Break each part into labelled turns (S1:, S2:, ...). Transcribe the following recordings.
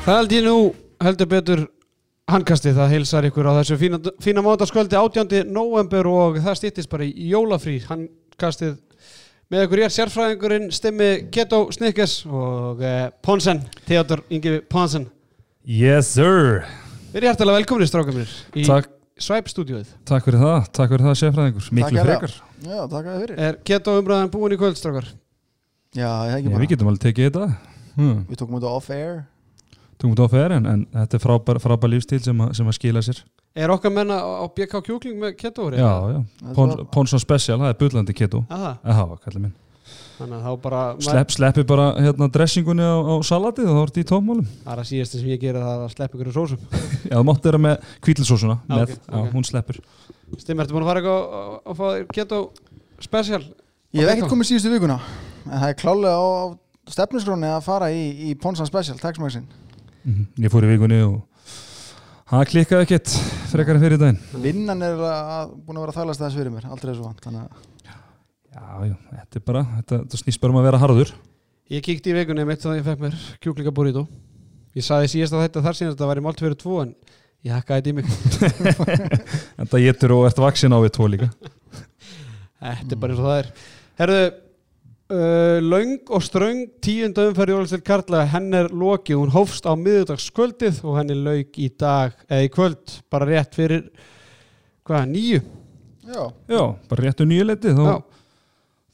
S1: Það held ég nú heldur betur handkastið það heilsar ykkur á þessu fína, fína mátaskvöldi 18. november og það stýttist bara í jólafrí handkastið með ykkur ég er sérfræðingurinn Stimmi Keto Snickers og eh, Ponsen, Theodor Ingi Ponsen
S2: Yes sir
S1: Við erum hærtalega velkominni strákum mér í
S2: Takk,
S1: Swipe stúdíóið
S2: takk fyrir það, takk fyrir það sérfræðingur Miklu
S3: Takk fyrir
S2: frekar
S3: Já, takk að þið fyrir
S1: Er Keto umræðan búin í kvöld strákar?
S3: Já, ég
S2: Ég,
S3: ekki bara
S2: Við getum alveg tekið þetta hmm.
S3: Við tókum þetta off-air
S2: Tungum þetta á ferin en þetta er frábær, frábær lífstíl sem, að- sem að skila sér
S1: Er okkar menna á á BK Kjúkling með Keto
S2: Já, já,
S3: Þetta
S2: Pons,
S3: var-
S2: Ponson Special, það er bullandi keto
S1: Aha,
S2: Aha, kallið minn
S1: þannig að þá bara
S2: Slepp, Sleppi bara hérna dressingunni á, á salatið og þá ertu í tómálum
S1: Það er að síðast sem ég gera það er að sleppa ykkur í sósum
S2: Já, þú mátt vera með kvítilsósuna
S1: Já,
S3: Ah,
S2: með,
S1: ok,
S2: já,
S1: ok.
S2: Hún sleppur
S1: Stimmi, ertu búin að fara eitthvað að- að- að fá þér Keto special?
S3: Ég hef
S1: Á
S3: ekkert
S1: Keto?
S3: komið síðustu vikuna En það er klálega á, á stefnusgróni að fara í, í Ponsan Special, taxmaxin
S2: Mhm. Ég fór í vikunni og það klikkaði ekkert frekar en fyrir daginn
S3: Vinnan er að, búin að vera að þælast þess fyrir mér Aldrei svo vant Þannig að
S2: Já, já, þetta er bara, þetta, þetta snýst bara um að vera harður
S1: Ég kíkti í vikunni mitt þannig að ég fekk mér kjúklingaburrito Ég saði síðast að þetta þar síðast að það væri mált fyrir tvo en ég hakkaði þetta í mig
S2: En það getur og ert vaksin á við tvo líka
S1: Þetta er bara eins og það er Herðu, uh, löng og ströng tíunda umferð Jólastil Karla henn er lokið, hún hófst á miðugdagskvöldið og henni lauk í dag eða í kvöld, bara rétt fyrir hvað, nýju?
S3: Já,
S2: Já, bara réttu nýju leiti þá,
S1: Já,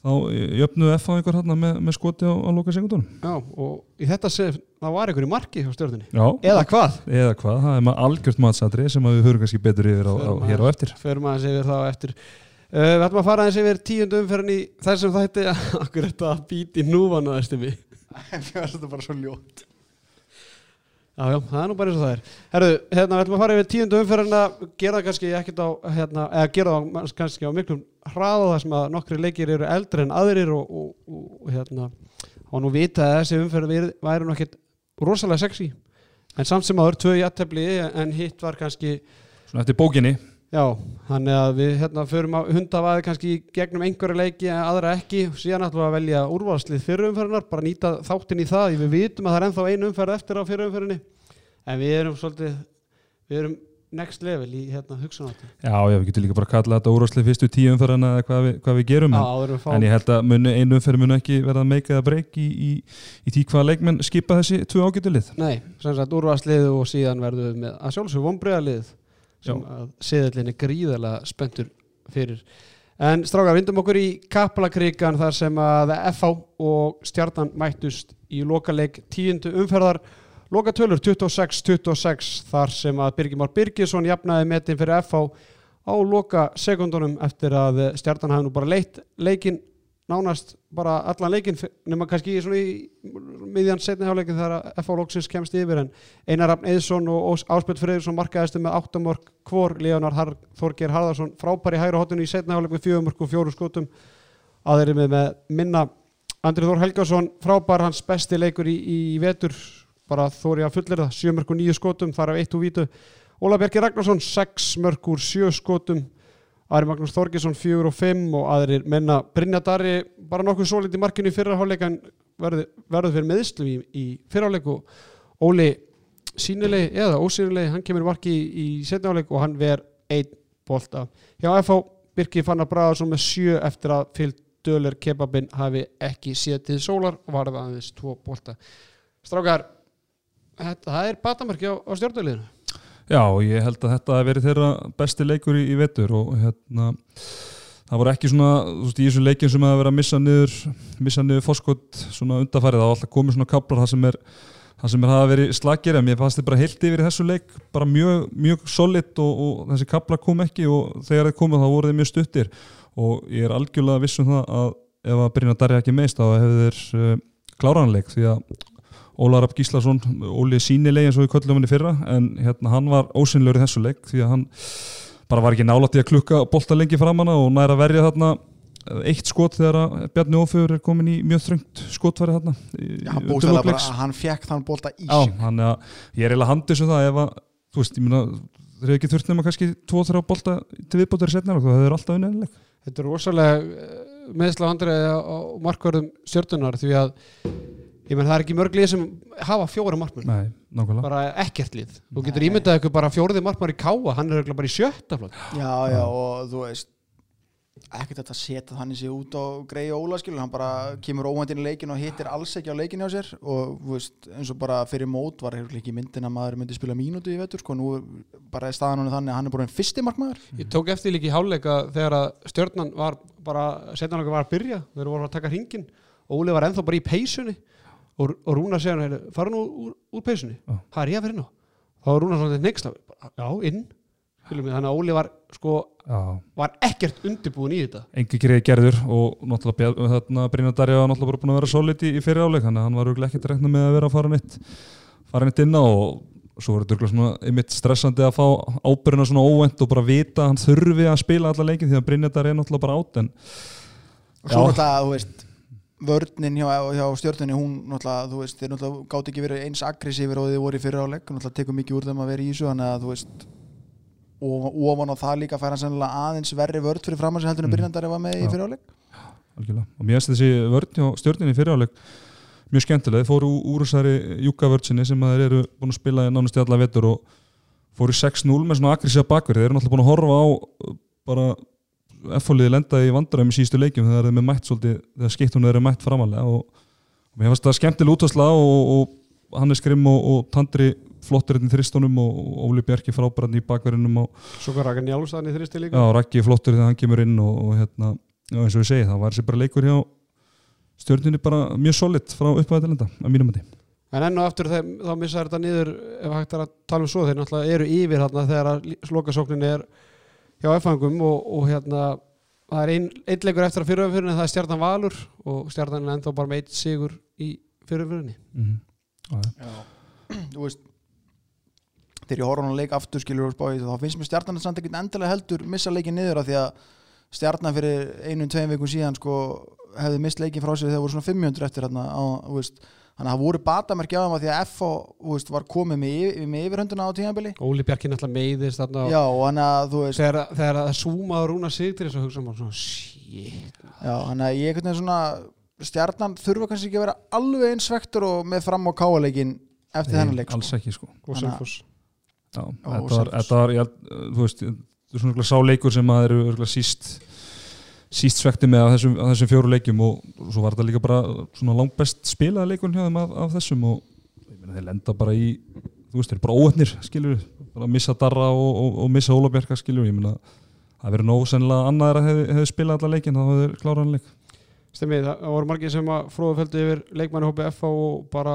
S2: þá eh, jöfnuðu F á einhver hérna með, með skoti á, á loka segundunum
S1: já, og í þetta sem það var einhver í marki hjá stjórnunni
S2: Já,
S1: Eða hvað?
S2: eða hvað, það er maður algjört matsatri sem að við höfum kannski betur yfir á, á,
S1: Förum
S2: hér á
S1: aðeins-
S2: eftir
S1: Förum aðeins yfir það á eftir uh, Við ætlum að fara aðeins yfir tíundu umferðin í þessum þætti Akkur þetta að býti núvan að stimi
S3: þetta er bara svo ljótt
S1: Já, já, það er nú bara eins og það er Herðu, hérna, við ætlum að fara yfir tíundu umferðin að gera það kannski ekkert á hérna, eða gera það manns- kannski á miklum hraða þar sem að nokkri leikir eru eldri en aðrir og, og, og, og hérna og nú vita að þessi umferð væri, væri nú ekkert rosalega sexy en samt sem aður tvö í aðtefli en hitt var kannski
S2: Svona eftir bókinni,
S1: Já, þannig að við hérna förum að hundavaði kannski í gegnum einhverja leiki en aðra ekki, síðan ætlum við að velja úrvalslið fyrir umferðinar, bara nýta þáttin í það, því við vitum að það er ennþá einu umferð eftir á fyrir umferðinni, en við erum svolítið, við erum next level í hérna hugsanáttu,
S2: já, já, við getum líka bara að kalla þetta úrvarsli fyrstu tíu umferðana eða hvað, við- hvað við gerum
S1: á
S2: en,
S1: áður en við
S2: Um en
S1: fáum
S2: ég held að muni, einu umferð muni ekki verða að meika eða breyk í, í, í því hvaða leikmenn skipa þessi tvö ágætulið
S1: Nei, sem sagt úrvalslið og síðan verðum við með að sjálfsög vonbreðalið sem að seðallin er gríðarlega spenntur fyrir En strákar, vindum okkur í Kaplakrikan þar sem að FH og Stjarnan mættust í lokaleik tíundu umferðar Lokatölur 26-26 þar sem að Birgir Már Birgisson jafnaði metin fyrir FH á loka sekundunum eftir að Stjarnan hafði nú bara leitt leikin nánast bara allan leikin nema kannski í svona í miðjan setni hálfleikin þegar að FH loksins kemst yfir en Einar Rafn Eðsson og Áspjöld Freyðursson markaðistu með 8 mörg hvor Leonar Har Þorgeir Harðarsson frábæri hægra hotinu í setna hálfleikum fjögur mörg og fjóru skotum aðeirri með, með minna Andrið Þór Helgason frábær hans besti leikur í, í vetur bara þóri að fullir það 7 mörg og 9 skotum þar af 1 og vítu Óla Bjarki Ragnarsson 6 mörg úr 7 skotum Ari Magnús Þorgesson 4 og 5 og aðrir menna Brynja Darri bara nokkuð svolítið í markinu í fyrra hálfleik en verður verð fyrir meðslum í, í fyrra hálfleik og Óli sínilegi eða ósínilegi, hann kemur í marki í, í setna hálfleik og hann ver einn bolta. Hjá FH Birki Fannar Braðarsson með 7 eftir að fylg Döler kebabin hafi ekki sétið sólar og varða aðeins 2 bolta. Strákar, þetta það er batamörki á, á stjórnuleginu.
S2: Já, og ég held að þetta hafi verið þeirra besti leikur í, í vetur og hérna það voru ekki svona, þú veist, í þessum leikjum sem hafa verið að missa niður, missa niður fórskot svona undarfærið, það var alltaf komið svona kaplar það sem er, það sem er hafa verið slagir en ég fannst þið bara heilt yfir í þessu leik bara mjög, mjög solid og, og þessi kaplar kom ekki og þegar þið komið þá voru þið mjög stuttir og ég er algjörlega viss um það að ef að Brynja Darja ekki meist þá hefur þeir uh, kláranleik því að Ólar Rapp Gíslason, Óli sínilegi eins og við köllum hann í fyrra en hérna, hann var ósynlur í þessu leik því að hann bara var ekki nálætt í að klukka bolta lengi fram hana og næra verja þarna eh, eitt skot þegar að Bjarni Ófjör er komin í mjög þröngt skotfæri þarna í-
S3: Já, hann
S2: undir
S3: bóstaði
S2: lok
S3: bara
S2: leiks.
S3: að hann fekk þann bólta í
S2: Já,
S3: sig
S2: þannig að ég er eiginlega handið sem það ef að, þú veist, ég meina þeir eru ekki þurft nema kannski 2-3 bolta til viðbóttur setna og það er alltaf unnæðileg
S1: eh, Þetta er rosalega meðsla handriði á markvörðum stjórnunar því að Ég menn það er ekki mörg lið sem hafa fjóra markmenn
S2: Nei, nákvæmlega
S1: bara ekkert lið Þú getur
S3: Nei.
S1: ímyndað ykkur bara fjórði markmann í káa hann er örugglega bara í sjötta flokk
S3: já, já, og þú veist ekkert að setja þannig sér út á Grey Óla skilur, hann bara kemur óvæntinn í leikin og hittir alls ekki á leikin hjá sér og þú veist, eins og bara fyrir mót var hefur ekki myndin að maður myndi spila mínútu í vetur sko, nú er bara staðan hann þannig að hann er bara einn fyrsti markmaður
S2: Mm.
S1: Ég tók eftir líka í háluleika þegar að stjörnan var bara setjanlega var að byrja þegar voru að taka hringin Óli var ennþá bara í peysunni og, og Rúna segja hann fara nú úr, úr peysunni
S2: Já.
S1: hvað er ég að vera inn á? Þá var Rúna svona neiksla Já, inn Skilum við, Þannig að Óli var sko
S2: Já,
S1: var ekkert undirbúin í þetta
S2: engi greið gerður og náttúrulega Bjar- þarna, Brynjar Darja var náttúrulega bara búin að vera solid í, í fyrir áleik þannig að hann var örugglega ekkert rekna með að vera að fara nýtt fara nýtt inn á og svo var þetta örugglega svona einmitt stressandi að fá ábyrjuna svona óvænt og bara vita að hann þurfi að spila alla leikin því að Brynjar Darja er náttúrulega bara átt en
S3: og svo
S2: Já.
S3: náttúrulega, þú veist vörnin hjá, hjá stjórnunni, hún náttúrulega, þú veist, þeir náttúrulega gátt ekki verið eins aggressífir og þeir voru í fyrra á legg náttúrulega tekur mikið úr þeim að vera í þessu þannig að þú veist og, ofan á það líka fær hann sennilega aðeins verri vörð fyrir fram á sig heldur en
S2: Mm.
S3: Brynandari var með
S2: Já.
S3: í fyrra á legg
S2: algjörlega. og mér finnst þessi vörn hjá stjórninni í fyriráleik mjög skemmtilega, þeir fóru úr þessari júkavörnsinni sem að þeir eru búin að spila í nánast í alla vetur og fóru í 6-0 með svona aggressíða bakverð, þeir eru náttúrulega búin að horfa á uh, bara F-fóliði lendaði í vandræðum í síðustu leikjum þegar þeir eru mætt svolítið, þegar skiptunum eru mætt framalega og, og mér finnst það skemmtilega útvarsla og, og Hannes Grimm og, og Tandri flotturinn í þristunum og, og Óli Bjarki frábærann í bakverðinum og
S1: Svo hvað rakar njálstaðan í þristi líka
S2: Já, Raggi er flottur þegar hann kemur inn og, og hérna, já, eins og ég segi, það var sér bara leikur hjá stjórninni bara mjög solid frá upphæðu til enda, að mínum að því.
S1: En enn og aftur þeim, þá missa þeir þetta niður ef hægt er að tala um svo, þeir náttúrulega eru yfir þarna þegar að slokasóknin er hjá effangum og, og hérna það er ein, einn leikur eftir að fyriröfumfyrinni það er stjarnan Valur og stjarnan er ennþá bara með eitt sigur í fyriröfumfyrinni
S2: Mm -hmm.
S3: þú veist þegar ég horfa hann að leik aftur skilur og spáði þá finnst mér stjarnan samt ekkert endilega heldur missa leikin niður af því að stjarnan fyrir einu, tveim vikum síðan sko hefði mist leikin frá sér þegar voru svona 500 eftir þarna á, þú veist, þannig að það voru batamerki á þeim af því að FO þú veist, var komið með, yfir, með yfirhönduna á tímabili
S1: Óli Bjarki náttúrulega meiðist þarna
S3: já, og hann að þú veist
S1: þegar, þegar það súmaður Rúna Sigtri og hugsa maður svona, shit
S3: já, hann að ég einhvern veginn svona stjarnan þurfa kannski ekki að vera alveg eins vektor og með fram á káaleikin eftir þennan leik
S2: Alls
S3: sko.
S2: ekki, sko.
S1: og
S3: Þannig að-
S1: Selfoss
S2: Já,
S3: Já,
S2: þetta
S3: og
S2: var,
S3: Selfoss.
S2: þetta var, ég, held, uh, þú veist, þú svona örugglega sá leikur sem að eru örugglega síst síst svekti með af þessum, af þessum fjóru leikjum og svo var þetta líka bara svona langbest spilaða leikur hjá þeim af, af þessum og ég meina þeir lenda bara í þú veist, þeir eru bara óöfnir, skilur bara missa Darra og, og, og missa Ólafbjörka, skilur ég meina, það verið nóg sennilega annaðir að hefði, hefði spilað alla leikin, þá hefði þeir klárað hann leik
S1: Stemmi, það það voru margir sem að fróðufeldu yfir leikmannhópi FH og bara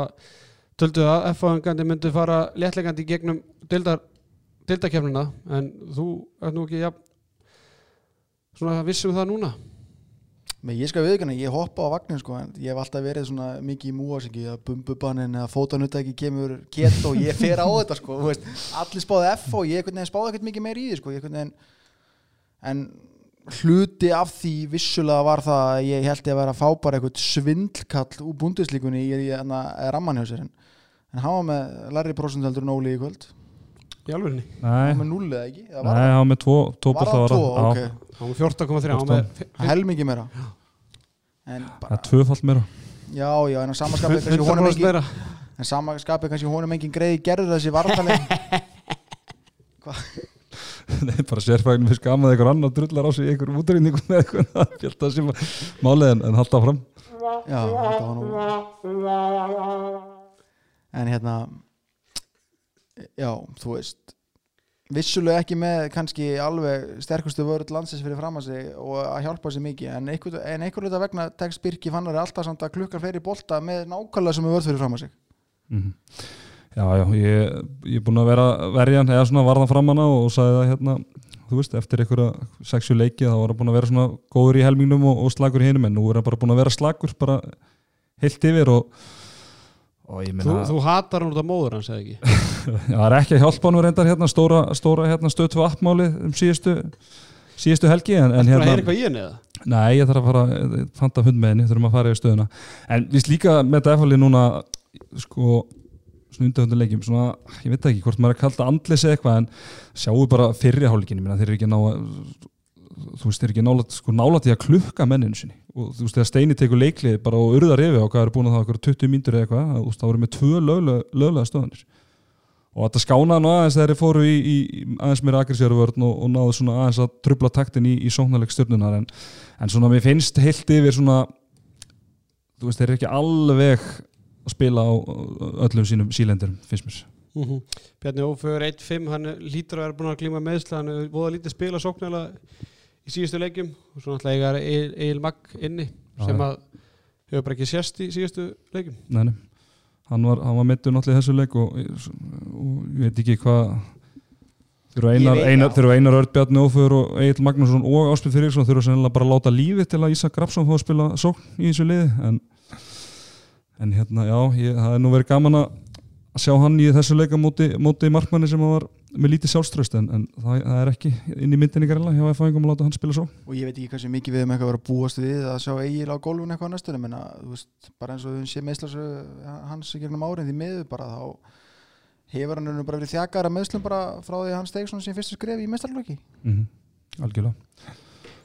S1: töldu að FH-engandi myndu fara léttlegandi í gegnum deildar, deildakefnina en þú ert nú ekki ja, svona vissum það núna
S3: Men ég skal viðkynna, ég hoppa á vagnin sko, en ég hef alltaf verið svona mikið í múasingi að bumbubannin eða fótanutæki kemur kett og ég fer á þetta sko, þú veist, allir spáði F og ég einhvern veginn spáði ekkert mikið meir í því sko, ég einhvern veginn, en hluti af því vissulega var það að ég held ég að vera að fá bara eitthvað svindlkall úr bundislíkunni í, í, í ramman hjá sér en, en hann var með larri prosentaldur en Óli í kvöld,
S1: í alvörinni
S3: hann
S2: Nei,
S3: var með null eða ekki, eða
S2: nei,
S3: var hann?
S2: hann var með tvo, tvo
S3: Var
S2: bolta
S3: hann
S2: var
S3: tvo,
S2: hann-
S3: ok,
S2: já,
S1: hann var 14,3 hann var með fi-
S3: helmingi meira en
S2: það
S3: bara,
S2: er tvöfalt meira
S3: já, já, en á samaskapið kannski
S1: 100%
S3: honum ekki
S1: meira
S3: En sama skapið kannski honum engin greið gerður þessi vartaleg
S2: Nei, bara sérfægin við skamaði einhver annar drullar á sig í einhver útrýningu með eitthvað fjölda sem var málið en, en halda áfram
S3: Já, þetta var nú En hérna Já, þú veist Vissulega ekki með kannski alveg sterkustu vörð landsins fyrir fram að sig og að hjálpa sig mikið en einhver, en einhver hluta vegna tekst Birki fannar alltaf samt að klukka fleiri bolta með nákvæmlega sem er vörð fyrir fram að sig
S2: mm. Já, já, ég, ég er búin að vera verjan eða svona varðan fram hana og sagði það hérna þú veist, eftir einhverja sexu leiki þá var hann búin að vera svona góður í helmingnum og, og slagur í hinum en nú er hann bara búin að vera slagur bara heilt yfir og, og ég
S1: þú,
S2: meina
S1: þú hatar hann út af móður hans eða ekki
S2: Já, það er ekki að hjálpa hann við reyndar hérna stóra, stóra hérna stötu appmálið um síðustu síðustu helgi en, en
S1: þú
S2: hérna
S1: heyrir eitthvað í henni eða
S2: Nei, ég þarf að fara að fanta hund með henni, þurfum að fara yfir stöðuna en við líka með þetta efalli núna sko, svona undanhunduleikjum svona, ég veit ekki hvort maður er að kalda andlis eða eitthvað en sjáu bara fyrri hálfleikinu minna, þeir eru ekki að ná að þú veist, er ekki nálat, sko, nálat í að klukka menninu sinni og þú veist, þegar Steini tekur leiklið bara og urðar yfir á hvað er búin að það okkur 20 mínútur eða eitthvað, þú veist, það voru með tvö löglega, löglega stöðanir og þetta skánaði nú aðeins þegar þeir fóru í, í í aðeins meira aggressíru vörn og, og náðu svona aðeins að trubla taktin í, í sóknarleik stjörnunar en, en svona mér finnst heilt yfir svona þú veist, þeir eru ekki alveg að spila á á öllum sínum sílendurum, finnst mér
S1: Mm
S2: Mhm.
S1: Bjarni Ófögur 1-5, hann er- lítur að vera búin að glíma meðsla, hann er voða lítið spila sóknarlega í síðustu leikjum og svo náttúrulega eiga Egil- Egil Magg inni
S2: Já,
S1: sem
S2: já.
S1: að hefur bara ekki sérst í síðustu leikjum
S2: Nei, nei. Hann var, hann var meittur náttúrulega í þessu leik og, og ég veit ekki hvað þurfa
S3: Ég
S2: einar,
S3: veit
S2: einar,
S3: það.
S2: þurfa einar Örnbjarni Óföður og Egil Magnússon og Áspil Fyrirsson þurfa sennilega bara að láta lífið til að Ísak Grafsson fóða að spila sókn í þessu liði en, en hérna já, ég, það er nú verið gaman að að sjá hann í þessu leika móti, móti markmanni sem hann var með lítið sjálfströst en, en það, það er ekki inn í myndinni gærilega hjá F-fæðingum um að láta hann spila sókn
S3: og ég veit ekki hversu mikið við um eitthvað að vera að búast við að sjá Egil á gólfun eitthvað á næstunum en að, þú veist, bara eins og við sé meðslasu hans í gegnum árin því miður bara þá hefur hann rauninu bara verið þjakar að meðslum bara frá því að hann steig svona sín fyrstu skref í meðslarlöki
S2: mm algjörlega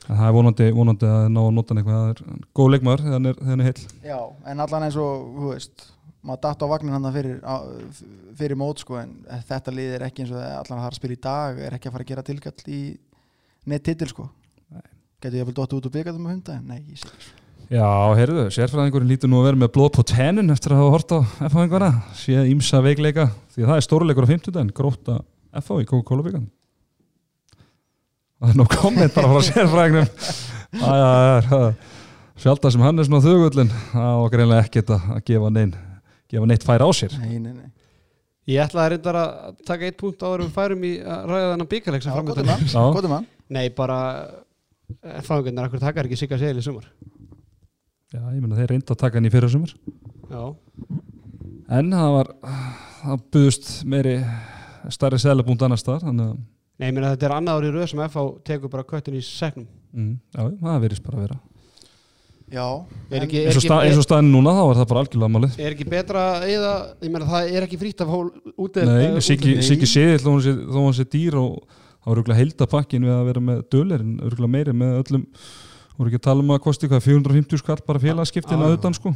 S2: en það er vonandi, vonandi að ná að nota hann eitthvað það er góð leikmaður þegar hann er, þegar hann er heill
S3: Já, en allan eins og, þú veist maður datt á vagnin hann fyrir, á- fyrir mót sko, en þetta lið er ekki eins og það er allan að það er að spila í dag, er ekki að fara að gera tilkall í neitt titil sko Gæti ég að vel dotta út og byggja um hunda? Nei, ég sé ekki.
S2: já, heyrðu, sérfræðingurinn lítur nú að vera með blóð på tennin eftir að hafa hort á F-háðingvara séð ímsa veikleika því að það er stórleikur á 50 en gróta F-há í Coca-Cola-byggan það er nú komment bara frá sérfræðingnum Æ, já, já, já. sjálf það sem hann er svona þögullin það var greinlega ekkert að að gefa neinn gefa neitt færa á sér
S3: Nei, nei, nei.
S1: Ég ætlaði reyndar að taka eitt punkt áður en við færum í að ræða þennan bíkarleik sem
S3: Já,
S1: framöndan
S3: gott um
S1: er.
S3: hann,
S2: Já.
S3: gott um hann.
S1: Nei, bara eh, fangarnir, akkur takar ekki sigga segil í sumar
S2: já, ég meina þeir reynda að taka hann í fyrra sumar
S1: Já,
S2: En það var, það buðust meiri starri selabúnd annars þar, þannig að,
S1: nei, ég meina þetta er annað árið röð sem FH tekur bara köttin í segnum
S2: mm, já, já, það verðist bara að vera.
S3: Já,
S1: Er
S3: en-
S1: ekki, er
S2: Eins og,
S1: ekki,
S2: sta, eins og staðin núna, þá var það bara algjörlega málið.
S1: er ekki betra eða, ég meina það er ekki frítt af hól út
S2: Nei, Siggi
S3: nei.
S2: Siggi Siðill, þó hann sé- þó hann sé dýr og það var örgulega heildapakkin við að vera með dölerinn, örgulega meiri með öllum, voru ekki að tala um að kosti hvað, 450 skall bara félagaskiptin
S1: Já, já.
S2: að utan, sko.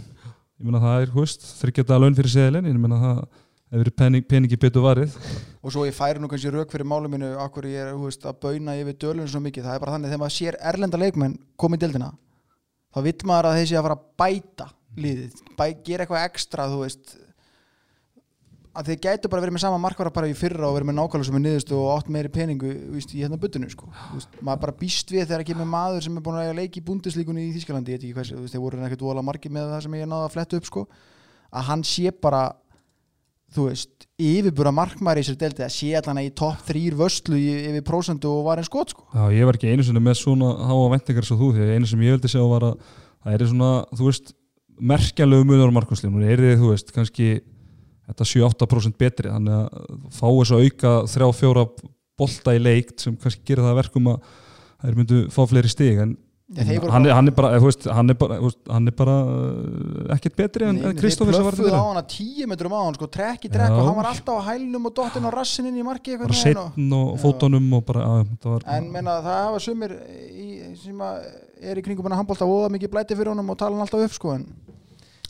S2: Ég meina það er, húst, þryggjata laun fyrir seðilinn, ég meina það hefur verið pening, peningi betur varið.
S3: og svo ég færi nú kannski rauk fyrir málu mínu akkur ég er þú veist, að bauna yfir dölun svo mikið, það er bara þannig þegar maður sér erlenda leikmenn komið dildina þá vill maður að þessi að fara að bæta liðið, bæ, gera eitthvað ekstra þú veist að þeir gætu bara verið með sama markvara bara í fyrra og verið með nákvæmlega sem er niðurstu og átt meiri peningu þú veist, í hérna buttinu sko Þú veist, maður bara býst við þegar að kemur maður sem er búin að eiga leik í búndislíkunni í Þískalandi, ég veit ekki hvers þú veist, þeir voru ekkert vola margir með það sem ég náði að fletta upp sko að hann sé bara þú veist, yfirbúra markmaður í sér delti að sé allan í topp þrýr vöslu í- yfir prósentu og var einn skot sko
S2: Já, ég var ekki einu sinni með svona háa vendingar svo þú, því að einu sem ég vildi sjá var að það er svona, þú veist merkjanlegu munur á markvæmslinu, hún er þið, þú veist kannski þetta 7-8% betri, þannig að fá þess að auka 3-4 bolta í leikt sem kannski gerir það að verkum að þær myndu fá fleiri stig en
S3: Já, þeir voru
S2: Mm, hann, er,
S3: bara-
S2: hann er bara, þú veist, hann er bara, þú veist, hann er bara uh, ekkert betri en
S3: Nei,
S2: Kristófis
S3: þeir
S2: að var hérna.
S3: plöffuðu
S2: þetta
S3: á hana tíu metrum á hann sko, trekk í trekk
S2: Já.
S3: og hann var alltaf á hælnum og dottinn á rassininn í marki
S2: bara
S3: einhvern veginn og,
S2: setn og fótunum og bara, að, það var
S3: en menna það hafa sumir í, sem að er í kringum hann að handbólta voða mikið blæti fyrir honum og tala hann alltaf upp sko en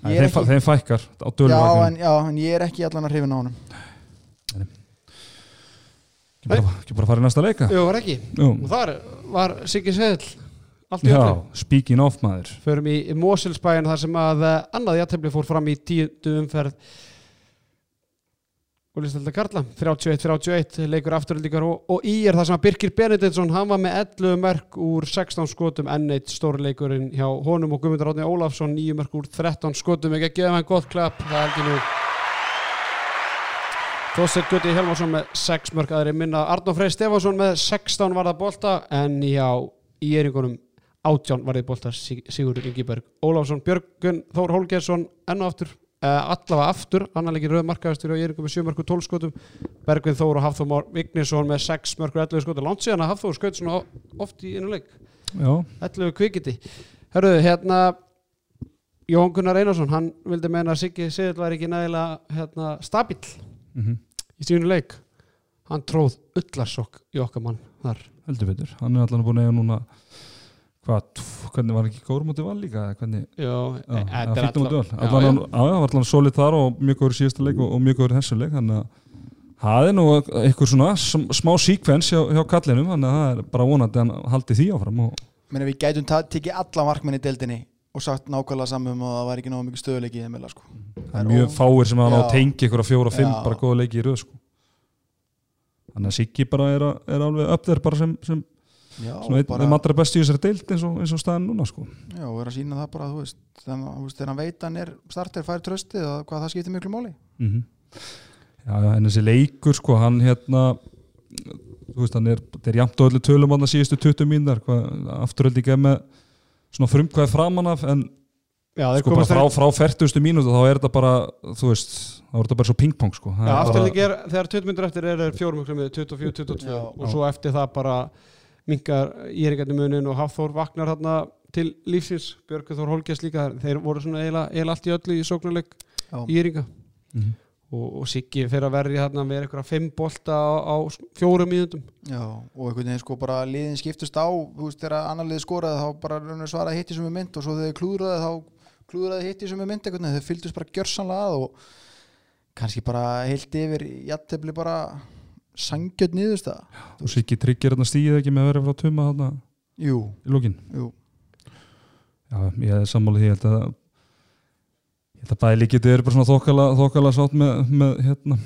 S2: Nei,
S3: ég er
S2: þeim,
S3: ekki,
S2: ekki... þeim fækkar á
S3: já,
S2: dölum
S3: en, já, en ég er ekki allan að hrifin á honum
S2: ekki bara, ekki bara fara í næsta leika
S1: Jú, var ekki
S2: Jú.
S1: Og þar var Siggi Sveðl allt í öllu.
S2: Já, speaking of maður
S1: Förum í Moselsbæin þar sem að eh, annað játefli fór fram í tíundu umferð og listalda Karla 31-31 leikur afturöldingar og, og í er það sem að Birkir Benediktsson hann var með 11 mörg úr 16 skotum enn eitt stórleikurinn hjá honum og Guðmundur Átni Ólafsson 9 mörg úr 13 skotum ekki að gefa hann gott klapp það er ekki nú Þossir Gutti Helmarsson með 6 mörg aðri minna Arnó Frey Stefánsson með 16 varða bolta en hjá í eringunum átján varðið boltar Sig- Sigurður Ingiberg Ólafsson Björgun Þór Hólgesson enn og aftur uh, allavega aftur annar leikir rauð markaðastur og ég er ykkur með 7 mörgur 12 skotum Bergvin Þór og Hafþór Már Vignisson með 6 mörgur 11 skotum langt síðan að Hafþór skaut svona oft í einu leik
S2: Já,
S1: 11 kvikiti Hörruðu, hérna Jón Gunnar Einarsson, hann vildi meina að Siggi Sigurður var ekki nægilega hérna, stabill
S2: mm
S1: í sínu leik hann tróð ullarsokk í okkar mann þar
S2: heldur betur, hann er allan búin að eiga núna hvað, tf- hvernig var ekki góður móti val líka, eða hvernig
S1: já,
S2: Já,
S1: þetta
S2: eða
S1: er
S2: fínt
S1: allan-
S2: móti val. allan hann- já, já, var allan solid þar og mjög góður í síðasta leik og, og mjög góður í þessu leik þannig að það er nú eitthvað svona sm- smá síkvens hjá, hjá kallinum þannig að það er bara vonandi að hann haldi því áfram og
S3: Meina, við gætum ta- tekið alla markmenni í deildinni og sagt nákvæmlega samum að það var ekki náðu mikið stöðuleiki í þeim meðla sko.
S2: það er mjög
S3: ó-
S2: fáir sem að ná
S3: Já.
S2: tengi ykkur að fjóra og fimm
S3: Já.
S2: bara góða leiki í röð sko. þannig að Siggi bara er, að, er alveg upp þér bara sem, sem
S3: Já,
S2: svona einn
S3: bara,
S2: þeim allra besti í þessari deild eins og, eins og staðan núna sko.
S3: já, og er að sína það bara þú veist, þannig, að, þú veist, þegar hann veit að hann er starter fær tröstið og hvað það skiptir miklu máli
S2: mm já, já, en þessi leikur sko, hann hérna þú veist, hann er, þetta er jæmt og öllu tölum hann að síðustu 20 mínar, afturöldi ekki með svona frumkvæði framan af en
S1: já, þeir
S2: sko bara
S1: komast
S2: frá,
S1: þeir-
S2: frá 40 mínútu þá er þetta bara, þú veist þá er þetta bara svo pingpong sko Það
S1: já,
S2: er bara-
S1: afturleik er, þegar 20 minnur eftir er þeir fjórum ykkur með 24, 22
S3: Já.
S1: og svo eftir það bara mingar íringarni munin og Hafþór vaknar þarna til lífsins, Björgur Þór Holgers líka þeir voru svona eiginlega eiginlega allt í öllu í sóknuleik
S3: já,
S1: íringa
S2: Mhm.
S1: og, og Siggi fyrir að verja þarna með einhverja fimm bolta á, á fjórum mínútum
S3: já, og einhvern veginn sko bara liðin skiptust á, þú veist, þegar annar liði skoraði þá bara raunir svaraði hitti sem er mynd og svo þegar þeir klúðraði þá klúðraði hitti sem er mynd einhvern veginn, þau fylgdust bara gjörsanlega að og kannski bara heilt yfir jættefli bara sangjöld niðurst það
S2: og Siggi tryggir hérna stíð ekki með að vera frá tuma hérna
S3: jú,
S2: í lókin
S3: jú,
S2: já, ég er sammálið því, ég held að ég held að bæði líkið eru bara svona þokkala, þokkala sátt með, með hérna,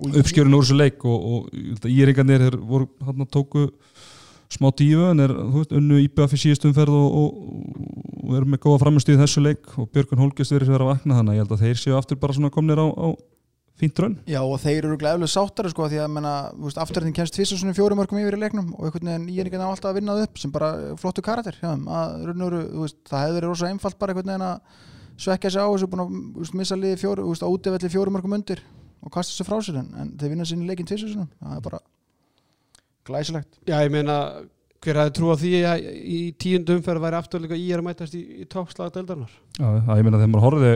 S3: og
S2: uppskjörun úr þessu leik og, og ég held að íringarnir þeir voru hann tóku smá dífu en er þú veist, unnu IBF í síðustu umferð og, og, og eru með góða framistu í þessu leik og Björgun Hólkist verið sér að vakna þannig að ég held að þeir séu aftur bara svona komnir á, á fínt raun
S3: Já og þeir eru glæðilega sáttari sko því að menna, veist, afturhættin kemst tvisa svona fjórum örgum yfir í leiknum og einhvern veginn ég er ekki ná alltaf að vinna það upp sem bara flottu karakter hjá þeim að raun og veru, þú veist, það hefði verið rosa einfalt bara einhvern veginn að svekja sig á þessu búin að þú veist, missa liði fjóru, þú veist, á útivelli fjórum örgum undir og kasta þessu frá sér en, en þeir vinna sinni leikin tvisa svona það er bara glæsilegt
S1: Já, ég meina, hver hafði trú á því að í tíundu umferð væri afturleika í er að mætast í, í toppslaga deildarnar?
S2: Já, það ég meina þegar maður horfði